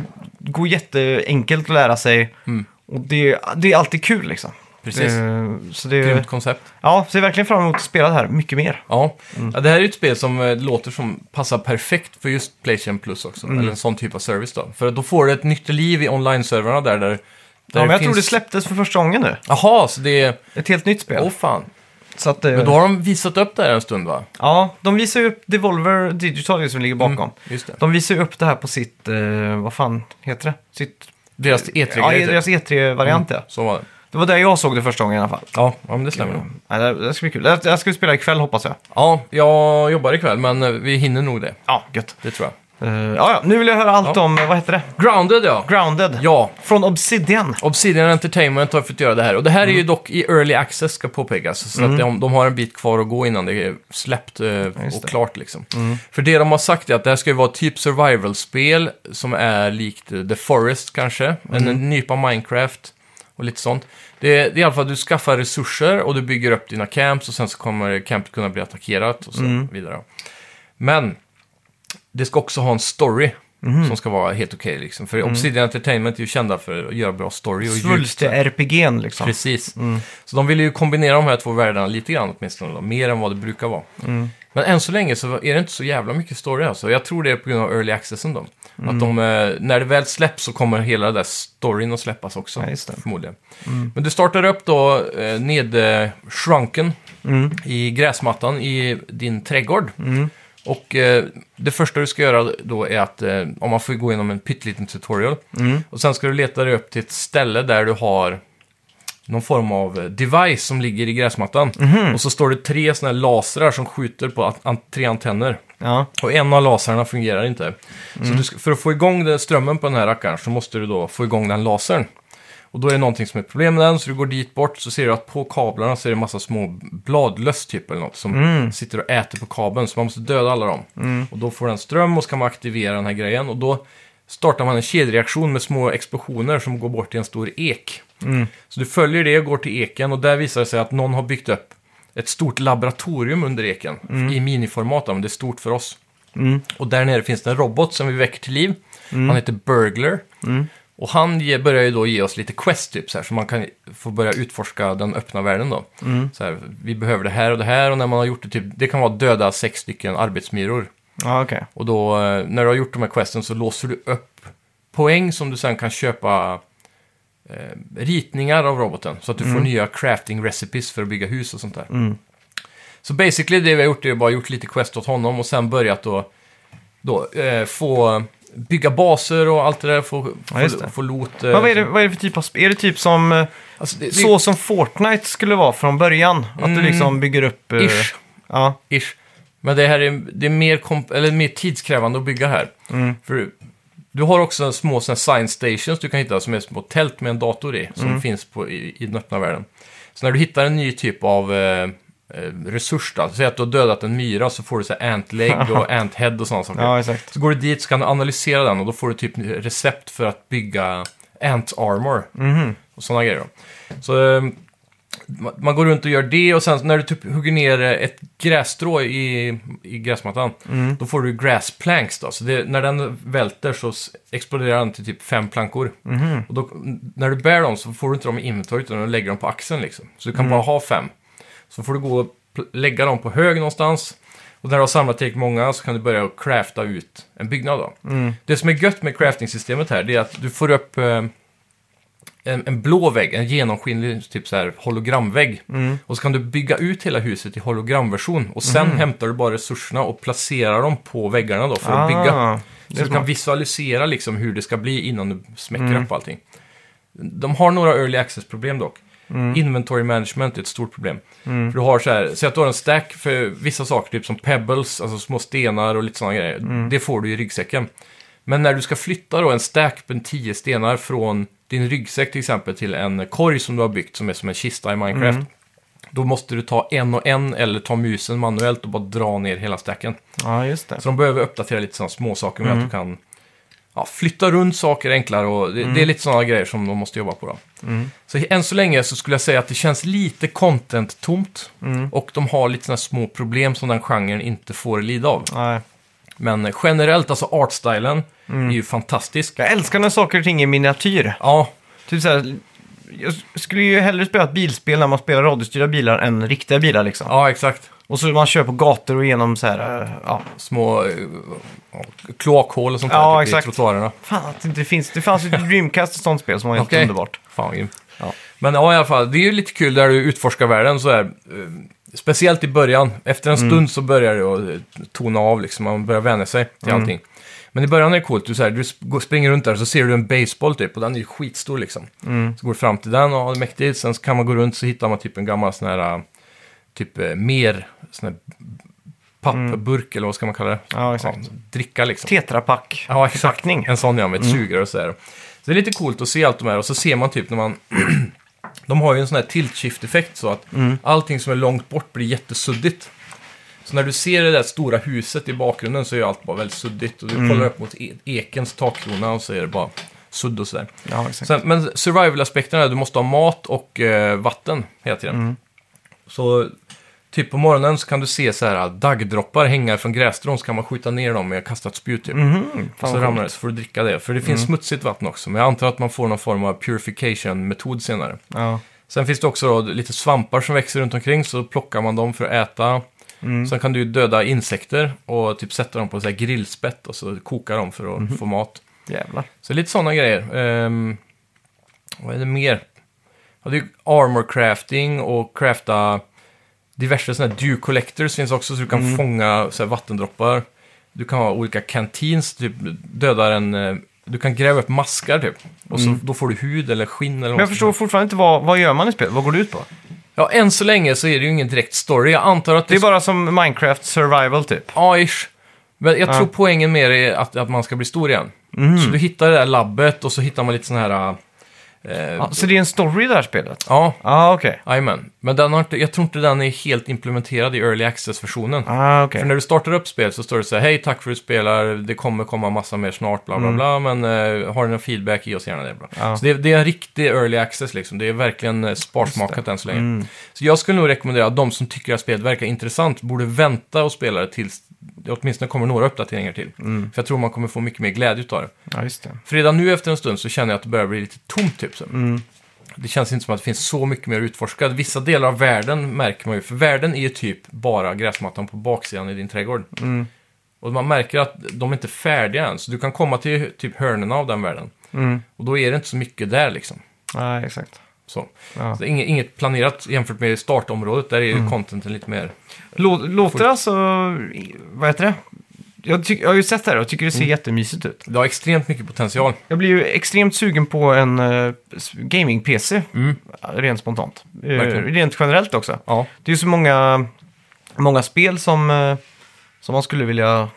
Speaker 1: går jätteenkelt att lära sig.
Speaker 2: Mm.
Speaker 1: Och det, det är alltid kul liksom.
Speaker 2: Precis.
Speaker 1: Det, Eh, så det,
Speaker 2: Grymt koncept.
Speaker 1: ja, ser verkligen fram emot att spela det här mycket mer.
Speaker 2: Ja.
Speaker 1: Mm.
Speaker 2: ja, det här är ju ett spel som eh, låter som passar perfekt för just Playstation Plus också.
Speaker 1: Mm.
Speaker 2: Eller en sån typ av service då. För då får det ett nytt liv i online-servrarna där. där, där
Speaker 1: Ja, men jag
Speaker 2: finns-
Speaker 1: tror det släpptes för första gången nu.
Speaker 2: Jaha, så det är...
Speaker 1: Ett helt nytt spel.
Speaker 2: Åh fan.
Speaker 1: så att, eh,
Speaker 2: Men då har de visat upp det här en stund va? Mm.
Speaker 1: Ja, de visar ju upp Devolver Digital som ligger bakom.
Speaker 2: Just det.
Speaker 1: De visar ju upp det här på sitt, eh, vad fan heter det? Sitt,
Speaker 2: Deras E typ. E3-grej.
Speaker 1: ja, deras E3-variant ja.
Speaker 2: Så var det.
Speaker 1: Det var där jag såg det första gången i alla fall.
Speaker 2: Ja, ja men det stämmer nog.
Speaker 1: Ja, det, det ska bli kul. Det, det här ska vi spela ikväll hoppas jag.
Speaker 2: Ja, jag jobbar ikväll men eh, vi hinner nog det.
Speaker 1: Ja, gött.
Speaker 2: Det tror jag.
Speaker 1: Eh, ja, ja, nu vill jag höra allt
Speaker 2: Ja.
Speaker 1: om, eh, vad heter det?
Speaker 2: Grounded ja.
Speaker 1: Grounded.
Speaker 2: Ja,
Speaker 1: Från Obsidian.
Speaker 2: Obsidian Entertainment har fått göra det här. Och det här är ju dock i early access ska påpekas. Så att de, de har en bit kvar att gå innan det är släppt eh, och
Speaker 1: det.
Speaker 2: klart liksom. För det de har sagt är att det här ska ju vara typ survival-spel som är likt eh, The Forest kanske. En nypa Minecraft och lite sånt. Det, det är i alla fall att du skaffar resurser och du bygger upp dina camps och sen så kommer campet kunna bli attackerat och så vidare. Men det ska också ha en story. Som ska vara helt okej liksom. För Obsidian Entertainment är ju kända för att göra bra story och
Speaker 1: Svulst RPGn liksom.
Speaker 2: Precis. Så de vill ju kombinera de här två världarna lite grann åtminstone. Då, mer än vad det brukar vara. Men än så länge så är det inte så jävla mycket story alltså. Jag tror det är på grund av early accessen då. Att de, eh, när det väl släpps så kommer hela den där storyn att släppas också.
Speaker 1: Ja, just det.
Speaker 2: Förmodligen. Men du startar upp då eh, ned eh, shrunken
Speaker 1: Mm.
Speaker 2: i gräsmattan i din trädgård. Och eh, det första du ska göra då är att, eh, om man får gå igenom en pytteliten tutorial.
Speaker 1: Mm.
Speaker 2: Och sen ska du leta dig upp till ett ställe där du har någon form av eh, device som ligger i gräsmattan.
Speaker 1: Mhm.
Speaker 2: Och så står det tre sådana här lasrar som skjuter på att- an- tre antenner.
Speaker 1: Ja.
Speaker 2: Och en av lasrarna fungerar inte. Så du, ska- för att få igång den strömmen på den här rackaren så måste du då få igång den lasern. Och då är det någonting som är ett problem med den, så du går dit bort så ser du att på kablarna så är det en massa små bladlöss typ eller något som sitter och äter på kabeln. Så man måste döda alla dem. Och då får den ström och ska man aktivera den här grejen. Och då startar man en kedjereaktion med små explosioner som går bort till en stor ek. Så du följer det och går till eken och där visar det sig att någon har byggt upp ett stort laboratorium under eken. I miniformat, då, men det är stort för oss. Och där nere finns det en robot som vi väcker till liv. Han heter Burglar. Och han ge, börjar ju då ge oss lite quest typ så här, så man kan få börja utforska den öppna världen då. Så här, vi behöver det här och det här och när man har gjort det typ, det kan vara döda sex stycken arbetsmyror.
Speaker 1: Ja, okej.
Speaker 2: Och då, eh, när du har gjort de här questen så låser du upp poäng som du sen kan köpa eh, ritningar av roboten. Så att du
Speaker 1: Mm.
Speaker 2: får nya crafting recipes för att bygga hus och sånt där. Så basically det vi har gjort är bara gjort lite quest åt honom och sen börjat då, då eh, få bygga baser och allt det där. Få,
Speaker 1: Ja, just
Speaker 2: få,
Speaker 1: det.
Speaker 2: få loot.
Speaker 1: Men vad är, det, vad är det för typ av spel? Är det typ som, eh,
Speaker 2: Alltså, Eh, det, det,
Speaker 1: så som Fortnite skulle vara från början? Att du liksom bygger upp... eh,
Speaker 2: Ish.
Speaker 1: Ja,
Speaker 2: Ish. Men det här är, det är mer, komp- eller mer tidskrävande att bygga här.
Speaker 1: Mm.
Speaker 2: För du har också små såna här science stations du kan hitta som är små tält med en dator i. Som
Speaker 1: Mm.
Speaker 2: finns på, i, i den öppna världen. Så när du hittar en ny typ av eh, eh, resurs då. Säg att du har dödat en myra så får du så här antlägg och anthead och sådana saker.
Speaker 1: ja exakt.
Speaker 2: Så går du dit så kan du analysera den och då får du typ recept
Speaker 1: Mhm.
Speaker 2: för att bygga ant armor. Och sådana grejer. då. Så eh, man, man går runt och gör det och sen när du typ hugger ner eh, ett grässtrå i, i gräsmattan, då får du grass planks då. Så det, när den välter så s- exploderar den till typ fem plankor. Och då, när du bär dem så får du inte dem i inventory utan du lägger dem på axeln liksom. Så du kan bara ha fem. Så får du gå och pl- lägga dem på hög någonstans. Och när du har samlat tillräckligt många så kan du börja att crafta ut en byggnad då.
Speaker 1: Mm.
Speaker 2: Det som är gött med crafting-systemet här det är att du får upp eh, en, en blå vägg, en genomskinlig typ så här hologramvägg.
Speaker 1: Mm.
Speaker 2: Och så kan du bygga ut hela huset i hologramversion. Och sen hämtar du bara resurserna och placerar dem på väggarna då för att bygga.
Speaker 1: Ah, det är
Speaker 2: Så du kan
Speaker 1: smart. Mm.
Speaker 2: visualisera liksom hur det ska bli innan du smäcker upp allting. De har några early access-problem dock. Inventory management är ett stort problem. För du har så här, säg att du har en stack för vissa saker, typ som pebbles, alltså små stenar och lite sådana grejer. Det får du i ryggsäcken. Men när du ska flytta då en stack med 10 stenar från din ryggsäck till exempel till en korg som du har byggt som är som en kista i Minecraft. Då måste du ta en och en eller ta musen manuellt och bara dra ner hela stacken.
Speaker 1: Ja, just det.
Speaker 2: Så Alltså, de behöver uppdatera lite sådana små saker
Speaker 1: Mm.
Speaker 2: med att du kan ja, flytta runt saker enklare och det,
Speaker 1: Mm.
Speaker 2: det är lite sådana grejer som de måste jobba på. Då. Så än så länge så skulle jag säga att det känns lite content-tomt
Speaker 1: Mm.
Speaker 2: och de har lite sådana små problem som den genren inte får lida av.
Speaker 1: Nej.
Speaker 2: Men generellt, alltså artstylen
Speaker 1: Mm.
Speaker 2: är ju fantastisk.
Speaker 1: Jag älskar när saker och ting är miniatyr.
Speaker 2: Ja,
Speaker 1: Typ så här, jag skulle ju hellre spela ett bilspel när man spelar radiostyrda bilar än riktiga bilar liksom.
Speaker 2: ja exakt.
Speaker 1: Och så man kör på gator och genom så här, eh, ja.
Speaker 2: Små eh, ja, kloakhål och sånt
Speaker 1: Ja,
Speaker 2: där typ
Speaker 1: exakt.
Speaker 2: i trottoarerna.
Speaker 1: Fan att det inte finns, det fanns ju ett Dreamcast och sånt spel som var helt
Speaker 2: Okej.
Speaker 1: underbart.
Speaker 2: Fan vad grymt.
Speaker 1: Ja.
Speaker 2: Men ja, i alla fall, det är ju lite kul där du utforskar världen så här. eh, Speciellt i början. Efter en
Speaker 1: Mm.
Speaker 2: stund så börjar det att eh, tona av liksom. Man börjar vänja sig till
Speaker 1: Mm.
Speaker 2: allting. Men i början är det coolt. Du, så här, du sp- går- springer runt där så ser du en baseball typ och den är ju skitstor liksom.
Speaker 1: Mm.
Speaker 2: Så går du fram till den och har mäktigt. Sen så kan man gå runt så hittar man typ en gammal sån här eh, typ eh, mer sån här pappburk eller vad ska man kalla det?
Speaker 1: Mm. Ja, exakt.
Speaker 2: dricka liksom.
Speaker 1: Tetrapack.
Speaker 2: Ja, exakt.
Speaker 1: Förpackning.
Speaker 2: En sån ja, med ett sugrör och sådär. Så det är lite coolt att se allt de här och så ser man typ när man... de har ju en sån här tilt-shift-effekt så att allting som är långt bort blir jättesuddigt. Så när du ser det där stora huset i bakgrunden så är ju allt bara väldigt suddigt. Och du kollar upp mot e- ekens takkrona och så är det bara sudd och sådär.
Speaker 1: Ja, exakt.
Speaker 2: Sen, men survival-aspekten är att du måste ha mat och eh, vatten hela tiden.
Speaker 1: Mm.
Speaker 2: Så typ på morgonen så kan du se så här daggdroppar hänga från grässtrån så kan man skjuta ner dem med att kasta ett spjut typ. Och så
Speaker 1: Mhm. vad Mm.
Speaker 2: ramlar det, så får du dricka det. För det finns smutsigt vatten också, men jag antar att man får någon form av purification-metod senare.
Speaker 1: Ja.
Speaker 2: Sen finns det också då lite svampar som växer runt omkring, så plockar man dem för att äta.
Speaker 1: Mm.
Speaker 2: Sen kan du ju döda insekter och typ sätta dem på så här grillspett och så koka dem för att
Speaker 1: Mhm.
Speaker 2: få mat.
Speaker 1: Jävlar.
Speaker 2: Så lite sådana grejer. Ehm, vad är det mer? Ja, det är ju armor crafting och crafta diverse sådana här dew collectors finns också, så du
Speaker 1: Mm.
Speaker 2: kan fånga så här, vattendroppar. Du kan ha olika canteens, typ dödar en... eh, Du kan gräva upp maskar typ. Och så, då får du hud eller skinn eller
Speaker 1: Mm. Men jag förstår fortfarande inte vad, vad gör man i spelet? Vad går det ut på?
Speaker 2: Ja, än så länge så är det ju ingen direkt story. Jag antar att
Speaker 1: Det är bara som Minecraft survival typ.
Speaker 2: Ja, ish. Men jag tror poängen mer är att, att man ska bli stor igen.
Speaker 1: Mm.
Speaker 2: Så du hittar det där labbet och så hittar man lite sådana här... Eh,
Speaker 1: Ja, så det är en story i det här spelet? Ja,
Speaker 2: ja,
Speaker 1: ah, okej.
Speaker 2: Jajamän, men den har inte, jag tror inte den är helt implementerad i Early Access-versionen.
Speaker 1: Ah, okej.
Speaker 2: För när du startar upp spel så står det så här, hej tack för att du spelar, det kommer komma massa mer snart, bla bla bla, men eh, har du någon feedback, ge oss gärna det. Bla.
Speaker 1: Mm. Ja.
Speaker 2: Så det, det är en riktig Early Access liksom, det är verkligen eh, sparsmakat än så länge.
Speaker 1: Mm.
Speaker 2: Så jag skulle nog rekommendera att de som tycker att spelet verkar intressant borde vänta och spela det tills det åtminstone kommer några uppdateringar till.
Speaker 1: Mm.
Speaker 2: För jag tror man kommer få mycket mer glädje utav det.
Speaker 1: Ja, just det.
Speaker 2: För redan nu efter en stund så känner jag att det börjar bli lite tomt typ. Så.
Speaker 1: Mm.
Speaker 2: Det känns inte som att det finns så mycket mer att utforska. Vissa delar av världen märker man ju, för världen är ju typ bara gräsmattan på baksidan i din trädgård.
Speaker 1: Mm.
Speaker 2: Och man märker att de är inte färdiga än, så du kan komma till typ hörnen av den världen.
Speaker 1: Mm.
Speaker 2: Och då är det inte så mycket där liksom.
Speaker 1: Nej, exakt.
Speaker 2: Så.
Speaker 1: Ja. Mm.
Speaker 2: Så det är inget, inget planerat jämfört med startområdet, där är ju contenten lite mer...
Speaker 1: Lå, låter det alltså... Vad heter det? Jag, tyck, jag har ju sett det här och tycker
Speaker 2: Mm.
Speaker 1: det ser jättemysigt ut.
Speaker 2: Det har extremt mycket potential.
Speaker 1: Jag blir ju extremt sugen på en eh, s- gaming-PC. Rent spontant. Eh,
Speaker 2: Mm. Verkligen.
Speaker 1: rent generellt också.
Speaker 2: Ja,
Speaker 1: Det är ju så många, många spel som, eh, som man skulle vilja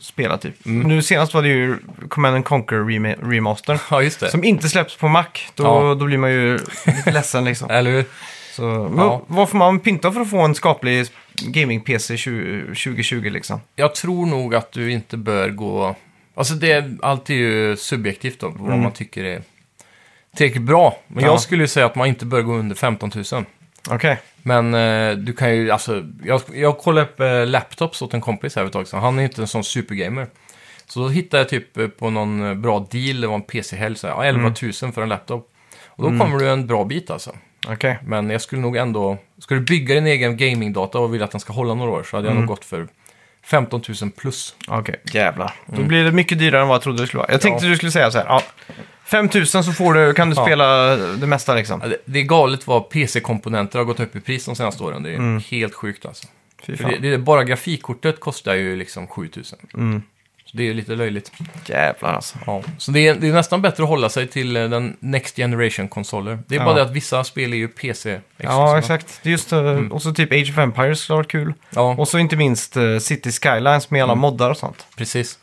Speaker 1: spela typ.
Speaker 2: Mm.
Speaker 1: Nu senast var det ju Command and Conquer rema- remaster.
Speaker 2: ja just det.
Speaker 1: Som inte släpps på Mac. Då,
Speaker 2: Ja.
Speaker 1: då blir man ju lite ledsen liksom.
Speaker 2: Eller hur?
Speaker 1: Så, men
Speaker 2: Ja.
Speaker 1: Vad får man pynta för att få en skaplig gaming-PC 20- 2020 liksom?
Speaker 2: jag tror nog att du inte bör gå... Alltså det är alltid ju subjektivt då, vad man tycker är tillräckligt bra. Men
Speaker 1: Ja.
Speaker 2: jag skulle ju säga att man inte bör gå under 15 000.
Speaker 1: Okej.
Speaker 2: Men eh, du kan ju, alltså, jag, jag kollade upp eh, laptops åt en kompis här för ett tag sedan. Han är ju inte en sån supergamer. Så då hittade jag typ eh, på någon eh, bra deal, det var en PC-helg, så här, ja, 11 000 för en laptop. Och då kommer du en bra bit alltså.
Speaker 1: Okej.
Speaker 2: Men jag skulle nog ändå, ska du bygga din egen gamingdata och vill att den ska hålla några år så hade jag nog gått för 15 000 plus.
Speaker 1: Okej, jävlar. Då blir det mycket dyrare än vad jag trodde det skulle vara. Jag tänkte du skulle säga så här, ja. 5000 så får du, kan du
Speaker 2: Ja.
Speaker 1: spela det mesta liksom.
Speaker 2: Ja, Det, det är galet vad PC-komponenter har gått upp i pris de senaste åren. Det är helt sjukt alltså.
Speaker 1: Fy
Speaker 2: För
Speaker 1: Mm.
Speaker 2: det,
Speaker 1: fan. Mm.
Speaker 2: det, är bara grafikkortet kostar ju liksom 7 000. Så det är ju lite löjligt.
Speaker 1: Jävlar alltså.
Speaker 2: Ja, så det är, det är nästan bättre att hålla sig till eh, den Next Generation-konsoler. Det är bara
Speaker 1: Ja.
Speaker 2: det att vissa spel är ju PC.
Speaker 1: Ja, exakt. Det är just, eh, Och så typ Age of Empires skulle ha varit kul.
Speaker 2: Ja,
Speaker 1: Och så inte minst eh, City Skylines med alla moddar och sånt.
Speaker 2: precis.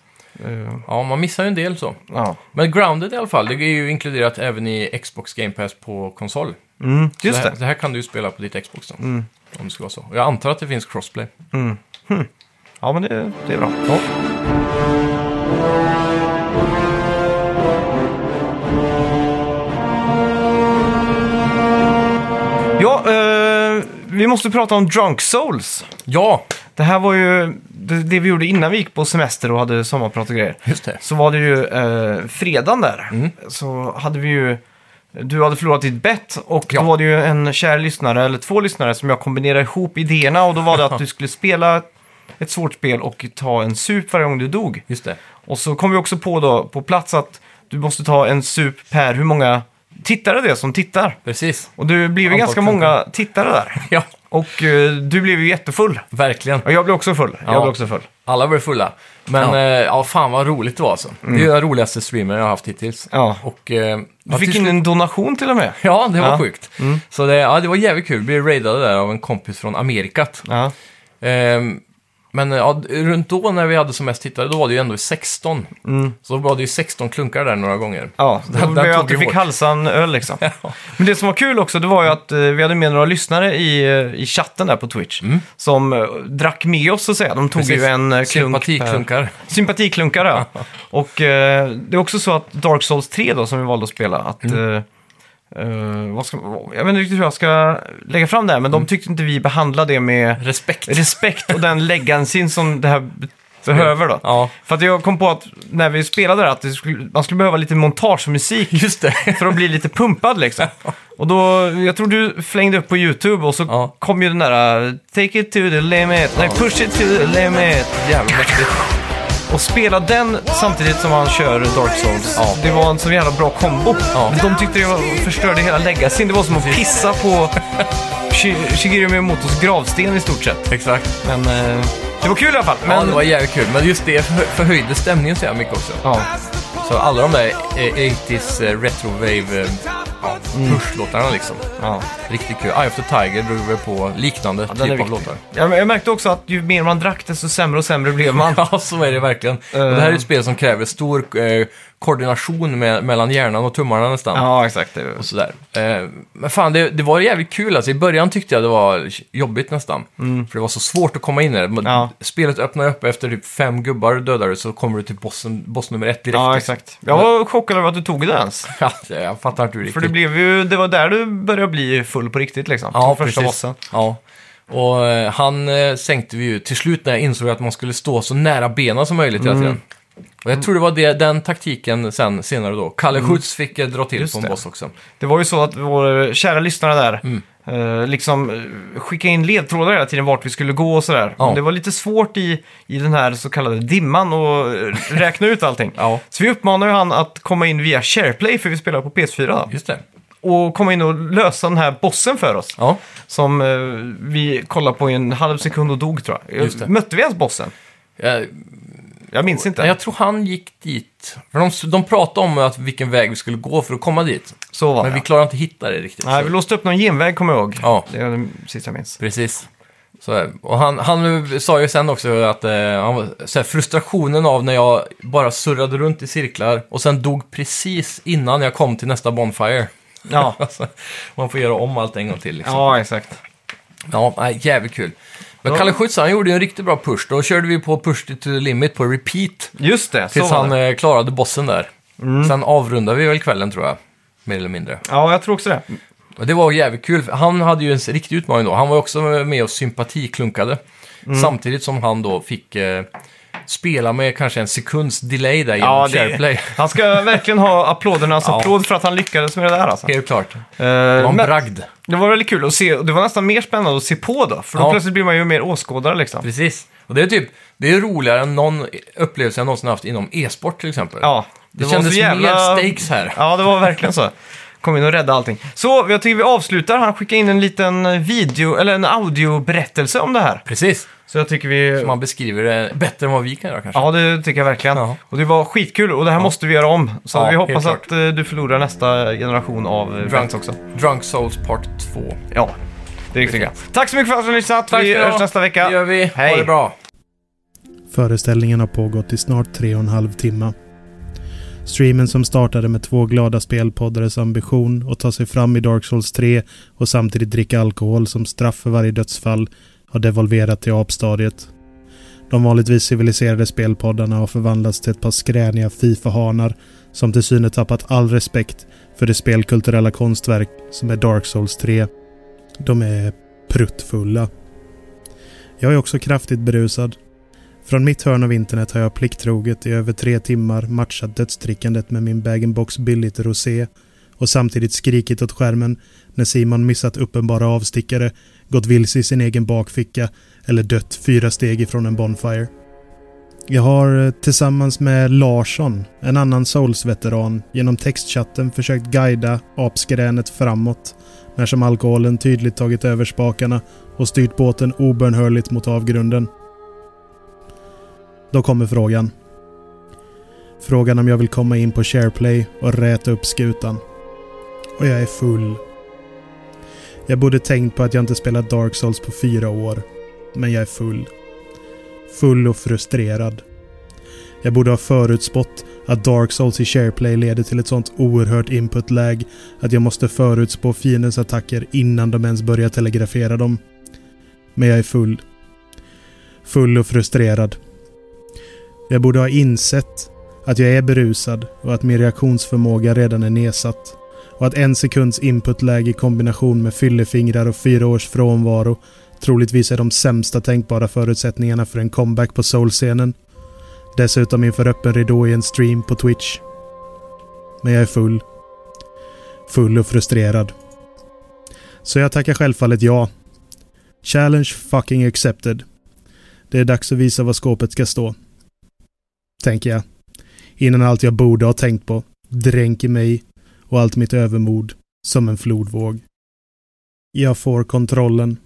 Speaker 1: Eh,
Speaker 2: Ja, man missar ju en del så.
Speaker 1: ja.
Speaker 2: Men Grounded i alla fall, det är ju inkluderat även i Xbox Game Pass på konsol.
Speaker 1: Mm,
Speaker 2: Så
Speaker 1: just
Speaker 2: det,
Speaker 1: det. Mm.
Speaker 2: här, det här kan du ju spela på ditt Xbox då. Om det ska vara så. Jag antar att det finns Crossplay.
Speaker 1: Ja, men det, det är bra.
Speaker 2: Ja.
Speaker 1: Ja, eh, vi måste prata om Drunk Souls.
Speaker 2: Ja,
Speaker 1: Det här var ju det, det vi gjorde innan vi gick på semester och hade sommarprat och grejer.
Speaker 2: just det.
Speaker 1: Så var det ju eh, fredagen där.
Speaker 2: Mm.
Speaker 1: Så hade vi ju... Du hade förlorat ditt bett och
Speaker 2: Ja.
Speaker 1: då var det ju en kär lyssnare, eller två lyssnare, som jag kombinerade ihop idéerna. Och då var det att du skulle spela ett svårt spel och ta en sup varje gång du dog.
Speaker 2: Just det.
Speaker 1: Och så kom vi också på då på plats att du måste ta en sup per hur många tittare det är som tittar.
Speaker 2: Precis.
Speaker 1: Och det blev ju
Speaker 2: Antal
Speaker 1: ganska många tittare där.
Speaker 2: Ja,
Speaker 1: Och eh, du blev ju jättefull.
Speaker 2: verkligen.
Speaker 1: Och jag blev också full. Jag
Speaker 2: Ja.
Speaker 1: blev också full.
Speaker 2: Alla blev fulla. Men
Speaker 1: Ja. Mm.
Speaker 2: ja. Eh, ja, fan vad roligt det var alltså. Det är ju den roligaste streamen jag har haft hittills.
Speaker 1: Ja.
Speaker 2: Och, eh,
Speaker 1: Du
Speaker 2: ja,
Speaker 1: fick
Speaker 2: till
Speaker 1: in
Speaker 2: slut-
Speaker 1: en donation till och med.
Speaker 2: Ja, det var
Speaker 1: Ja. Mm.
Speaker 2: sjukt. Så det, ja, det var jävligt kul. Vi blev raidade där av en kompis från Amerikat.
Speaker 1: Ja,
Speaker 2: Ehm, men eh, ja, runt då när vi hade som mest tittare, då var det ju ändå 16. Så var det ju 16 klunkar där några gånger.
Speaker 1: Mm. ja
Speaker 2: Den-
Speaker 1: då
Speaker 2: den
Speaker 1: blev jag
Speaker 2: tog
Speaker 1: att du
Speaker 2: vi
Speaker 1: fick
Speaker 2: hårt.
Speaker 1: halsa en öl liksom. Men det som var kul också, det var ju att eh, vi hade med några lyssnare i, eh, i chatten där på Twitch. Som eh, drack med oss så att säga. De tog
Speaker 2: Mm. Precis.
Speaker 1: ju en eh, klunk per-
Speaker 2: Sympatiklunkar.
Speaker 1: Sympatiklunkare, ja. Och eh, det är också så att Dark Souls 3 då, som vi valde att spela, att...
Speaker 2: Mm.
Speaker 1: Eh, eh, vad ska, jag vet inte riktigt hur jag ska lägga fram det här, men de tyckte inte vi behandlade det med
Speaker 2: Mm. Respekt.
Speaker 1: respekt och den legancyn som det här be- behöver då.
Speaker 2: Ja,
Speaker 1: För att jag kom på att när vi spelade det här, att det skulle, man skulle behöva lite montagemusik
Speaker 2: just det.
Speaker 1: för att bli lite pumpad liksom. Och då, jag tror du flängde upp på YouTube och så
Speaker 2: Ja.
Speaker 1: kom ju den där eh, Take it to the limit, nej push it to the limit.
Speaker 2: Jävligt mäktigt.
Speaker 1: Och spela den samtidigt som han kör Dark Souls.
Speaker 2: Ja.
Speaker 1: Det var en så jävla bra kombo.
Speaker 2: Ja.
Speaker 1: De tyckte det var, förstörde hela legacyn. Det var som att pissa på Shi- Shigeru Miyamotos gravsten i stort sett.
Speaker 2: Exakt.
Speaker 1: Men eh, det var kul i alla fall. Men,
Speaker 2: Ja, det var jävligt kul. Men just det förhö- förhöjde stämningen så jävla mycket också.
Speaker 1: ja.
Speaker 2: Så alla de där eh, 80s eh, retrowave eh, ja, push-låtarna liksom.
Speaker 1: Mm. Ja.
Speaker 2: Riktigt kul. Eye of the Tiger drog väl på liknande
Speaker 1: den är
Speaker 2: typ av
Speaker 1: viktig.
Speaker 2: låtar.
Speaker 1: Ja, men Jag märkte också att ju mer man drack desto sämre och sämre blev man.
Speaker 2: Ja, så är det verkligen. Och det här är
Speaker 1: Eh.
Speaker 2: ett spel som kräver stor eh, koordination med, mellan hjärnan och tummarna nästan.
Speaker 1: Ja, exakt. Det var-
Speaker 2: Och sådär. Eh, men fan, det, det var jävligt kul alltså. I början tyckte jag det var jobbigt nästan. För det var så svårt att komma in i det. Men
Speaker 1: Mm. Ja.
Speaker 2: Spelet öppnar upp efter typ fem gubbar dödar du så kommer du till bossen, boss nummer ett direkt.
Speaker 1: Ja,
Speaker 2: liksom.
Speaker 1: exakt. Jag var chockad över att du tog det ens.
Speaker 2: Ja, jag fattar inte riktigt.
Speaker 1: För det, blev ju, det var där du började bli full på riktigt liksom.
Speaker 2: Ja,
Speaker 1: På första
Speaker 2: precis.
Speaker 1: bossen.
Speaker 2: Ja. Och eh, han eh, sänkte vi ju till slut när jag insåg att man skulle stå så nära benen som möjligt
Speaker 1: Mm.
Speaker 2: hela tiden. Och jag tror det var det, den taktiken sen senare då. Kalle Schütz fick eh, dra till
Speaker 1: Mm. Just
Speaker 2: på en
Speaker 1: det.
Speaker 2: boss också.
Speaker 1: Det var ju så att vår kära lyssnare där
Speaker 2: Mm.
Speaker 1: eh, liksom eh, skickade in ledtrådar hela tiden vart vi skulle gå och sådär.
Speaker 2: Ja.
Speaker 1: Men det var lite svårt i, i den här så kallade dimman att eh, räkna ut allting.
Speaker 2: Ja.
Speaker 1: Så vi uppmanar ju han att komma in via SharePlay, för vi spelar på PS4. Då,
Speaker 2: Just det.
Speaker 1: och komma in och lösa den här bossen för oss.
Speaker 2: Ja.
Speaker 1: Som eh, vi kollade på i en halv sekund och dog tror jag.
Speaker 2: Just det.
Speaker 1: Mötte vi ens bossen?
Speaker 2: Jag,
Speaker 1: Jag minns inte.
Speaker 2: jag tror han gick dit. För de, de pratade om att vilken väg vi skulle gå för att komma dit.
Speaker 1: Så var
Speaker 2: Men
Speaker 1: det.
Speaker 2: vi klarade inte hitta det riktigt.
Speaker 1: Nej,
Speaker 2: så-
Speaker 1: vi låste upp någon genväg kommer jag ihåg.
Speaker 2: Ja.
Speaker 1: Det är det sista jag minns.
Speaker 2: Precis. Så, här. och han, han sa ju sen också att eh, han var, så här, frustrationen av när jag bara surrade runt i cirklar och sen dog precis innan jag kom till nästa Bonfire.
Speaker 1: Ja,
Speaker 2: Alltså, man får göra om allt en gång till. Liksom.
Speaker 1: ja exakt.
Speaker 2: Ja, nej, jävligt kul. Men
Speaker 1: Ja.
Speaker 2: Kalle Schütz, han gjorde ju en riktigt bra push. Då körde vi på push to the limit på repeat
Speaker 1: Just det,
Speaker 2: tills
Speaker 1: så var
Speaker 2: han
Speaker 1: det. Mm.
Speaker 2: eh, klarade bossen där. Sen avrundade vi väl kvällen tror jag, mer eller mindre.
Speaker 1: Ja, jag tror också det.
Speaker 2: Och det var jävligt kul. för Han hade ju en riktig utmaning då. Han var ju också med och sympatiklunkade.
Speaker 1: Mm.
Speaker 2: Samtidigt som han då fick eh, spela med kanske en sekunds delay där genom
Speaker 1: Ja,
Speaker 2: SharePlay.
Speaker 1: det, han ska verkligen ha applådernas
Speaker 2: Ja.
Speaker 1: applåd för att han lyckades med det där alltså.
Speaker 2: Helt klart. Det var
Speaker 1: Eh,
Speaker 2: en
Speaker 1: men
Speaker 2: bragd.
Speaker 1: det var väldigt kul att se, och det var nästan mer spännande att se på då, för då
Speaker 2: Ja.
Speaker 1: plötsligt blir man ju mer åskådare liksom.
Speaker 2: Precis. Och det är typ, det är roligare än någon upplevelse jag någonsin haft inom e-sport till exempel.
Speaker 1: Ja,
Speaker 2: Det, kändes
Speaker 1: så jävla-
Speaker 2: mer stakes här.
Speaker 1: Ja, det var verkligen så. Kom in och rädda allting. Så, jag tycker vi avslutar. Han skickade in en liten video, eller en audioberättelse om det här.
Speaker 2: Precis.
Speaker 1: Så jag tycker vi...
Speaker 2: Man beskriver det bättre än vad vi kan göra kanske.
Speaker 1: Ja, det tycker jag verkligen.
Speaker 2: Ja.
Speaker 1: Och det var skitkul och det här måste vi göra om. Så
Speaker 2: Ja,
Speaker 1: vi hoppas
Speaker 2: helt
Speaker 1: att eh, du förlorar nästa generation av eh, Friends också.
Speaker 2: Drunk Souls Part 2.
Speaker 1: Ja, det är riktigt bra. Tack så mycket för att ni har lyssnat.
Speaker 2: Tack
Speaker 1: vi
Speaker 2: ska du ha.
Speaker 1: hörs nästa vecka.
Speaker 2: Det gör vi.
Speaker 1: Hej.
Speaker 2: Ha det bra.
Speaker 5: Föreställningen har pågått i snart tre och en halv timme. Streamen som startade med två glada spelpoddares ambition att ta sig fram i Dark Souls 3 och samtidigt dricka alkohol som straff för varje dödsfall har devolverat till apstadiet. De vanligtvis civiliserade spelpoddarna har förvandlats till ett par skräniga Fifa-hanar som till synes tappat all respekt för det spelkulturella konstverk som är Dark Souls 3. De är pruttfulla. Jag är också kraftigt berusad. Från mitt hörn av internet har jag plikttroget i över tre timmar matchat dödstrickandet med min bag-in-box billigt rosé och samtidigt skrikit åt skärmen när Simon missat uppenbara avstickare, gått vilse i sin egen bakficka eller dött fyra steg ifrån en Bonfire. Jag har eh, tillsammans med Larsson, en annan Souls-veteran, genom textchatten försökt guida apskränet framåt när som alkoholen tydligt tagit över spakarna och styrt båten obönhörligt mot avgrunden. Då kommer frågan. Frågan om jag vill komma in på SharePlay och räta upp skutan. Och jag är full. Jag borde tänkt på att jag inte spelat Dark Souls på fyra år. Men jag är full. Full och frustrerad. Jag borde ha förutspått att Dark Souls i SharePlay leder till ett sånt oerhört input-lag att jag måste förutspå fiendens attacker innan de ens börjar telegrafera dem. Men jag är full. Full och frustrerad. Jag borde ha insett att jag är berusad och att min reaktionsförmåga redan är nedsatt. Och att en sekunds inputläge i kombination med fyllefingrar och fyra års frånvaro troligtvis är de sämsta tänkbara förutsättningarna för en comeback på soulscenen. Dessutom inför öppen ridå i en stream på Twitch. Men jag är full. Full och frustrerad. Så jag tackar självfallet ja. Challenge fucking accepted. Det är dags att visa vad skåpet ska stå tänker jag. Innan allt jag borde ha tänkt på dränker mig och allt mitt övermod som en flodvåg. Jag får kontrollen.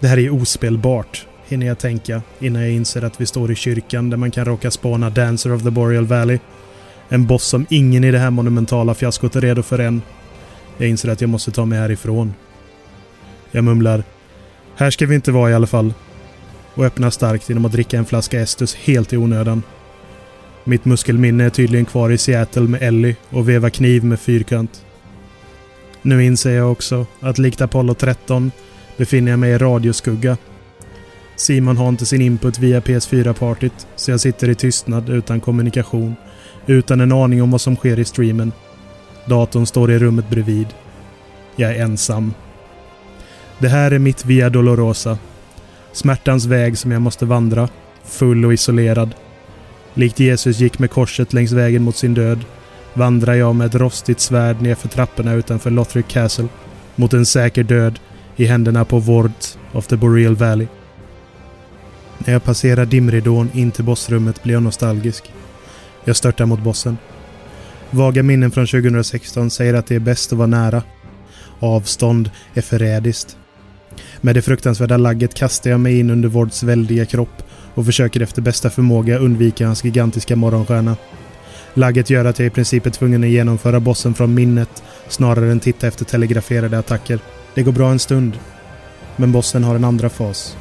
Speaker 5: Det här är ospelbart, hinner jag tänka innan jag inser att vi står i kyrkan där man kan råka spåna Dancer of the Boreal Valley. En boss som ingen i det här monumentala fiaskot är redo för än. Jag inser att jag måste ta mig härifrån. Jag mumlar. Här ska vi inte vara i alla fall och öppnar starkt genom att dricka en flaska Estus helt i onödan. Mitt muskelminne är tydligen kvar i Seattle med Ellie och veva kniv med fyrkant. Nu inser jag också att likt Apollo 13 befinner jag mig i radioskugga. Simon har inte sin input via PS4-partyt, så jag sitter i tystnad utan kommunikation, utan en aning om vad som sker i streamen. Datorn står i rummet bredvid. Jag är ensam. Det här är mitt Via Dolorosa. Smärtans väg som jag måste vandra, full och isolerad. Likt Jesus gick med korset längs vägen mot sin död vandrar jag med ett rostigt svärd nerför trapporna utanför Lothric Castle mot en säker död i händerna på Vords of the Boreal Valley. När jag passerar dimridån in till bossrummet blir jag nostalgisk. Jag störtar mot bossen. Vaga minnen från 2016 säger att det är bäst att vara nära. Avstånd är förrädiskt. Med det fruktansvärda lagget kastar jag mig in under Vords väldiga kropp och försöker efter bästa förmåga undvika hans gigantiska morgonstjärna. Lagget gör att jag i princip är tvungen att genomföra bossen från minnet snarare än titta efter telegraferade attacker. Det går bra en stund, men bossen har en andra fas.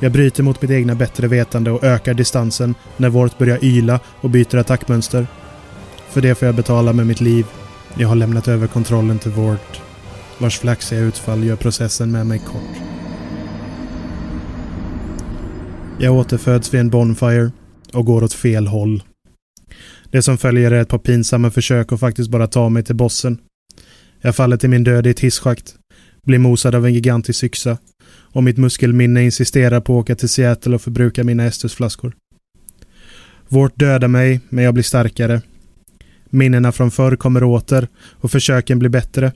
Speaker 5: Jag bryter mot mitt egna bättre vetande och ökar distansen när Vort börjar yla och byter attackmönster. För det får jag betala med mitt liv. Jag har lämnat över kontrollen till Vort, vars flaxiga utfall gör processen med mig kort. Jag återföds vid en bonfire och går åt fel håll. Det som följer är ett par pinsamma försök att faktiskt bara ta mig till bossen. Jag faller till min död i ett hisschakt. Blir mosad av en gigantisk yxa. Och mitt muskelminne insisterar på att åka till Seattle och förbruka mina Estusflaskor. Vårt dödar mig, men jag blir starkare. Minnena från förr kommer åter och försöken blir bättre.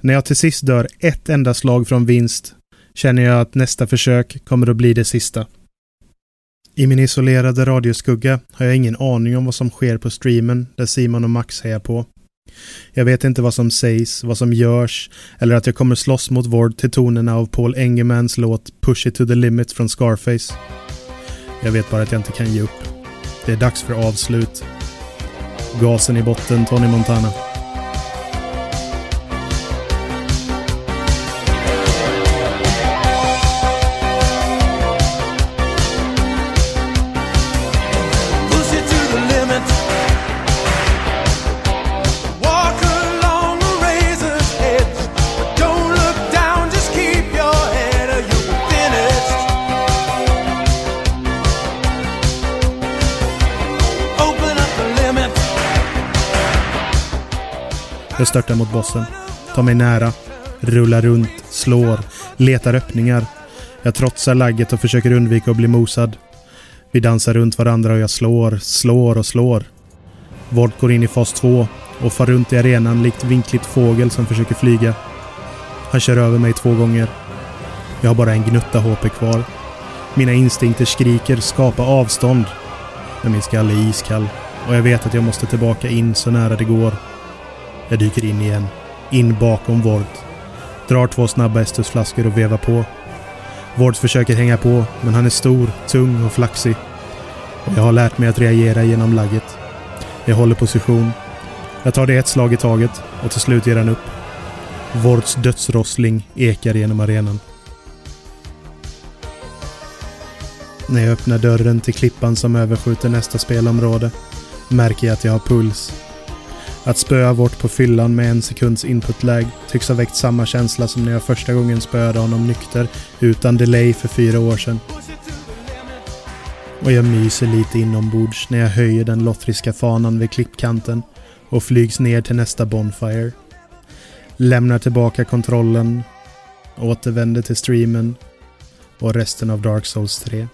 Speaker 5: När jag till sist dör ett enda slag från vinst känner jag att nästa försök kommer att bli det sista. I min isolerade radioskugga har jag ingen aning om vad som sker på streamen där Simon och Max hejar på. Jag vet inte vad som sägs, vad som görs eller att jag kommer slåss mot Vård till tonerna av Paul Engermans låt Push it to the limit från Scarface. Jag vet bara att jag inte kan ge upp. Det är dags för avslut. Gasen i botten, Tony Montana.
Speaker 3: Push it to the limit. Walk along the razor's edge, but don't look down. Just keep your head, or you're finished. Open up the limit.
Speaker 5: Jag störtar mot bossen. Tar mig nära. Rullar runt. Slår. Letar öppningar. Jag trotsar lagget och försöker undvika att bli mosad. Vi dansar runt varandra och jag slår, slår och slår. Vård går in i fas 2 och far runt i arenan likt vinkligt fågel som försöker flyga. Han kör över mig två gånger. Jag har bara en gnutta HP kvar. Mina instinkter skriker skapa avstånd. Men min skalle är iskall och jag vet att jag måste tillbaka in så nära det går. Jag dyker in igen. In bakom Vord. Drar två snabba Estusflaskor och vevar på. Vord försöker hänga på, men han är stor, tung och flaxig. Och jag har lärt mig att reagera genom lagget. Jag håller position. Jag tar det ett slag i taget och till slut ger han upp. Vords dödsrossling ekar genom arenan. När jag öppnar dörren till klippan som överskjuter nästa spelområde märker jag att jag har puls. Att spöa bort på fyllan med en sekunds inputlag tycks ha väckt samma känsla som när jag första gången spöade honom nykter utan delay för fyra år sedan. Och jag myser lite inombords när jag höjer den lottriska fanan vid klippkanten och flygs ner till nästa Bonfire. Lämnar tillbaka kontrollen, återvänder till streamen och resten av Dark Souls 3.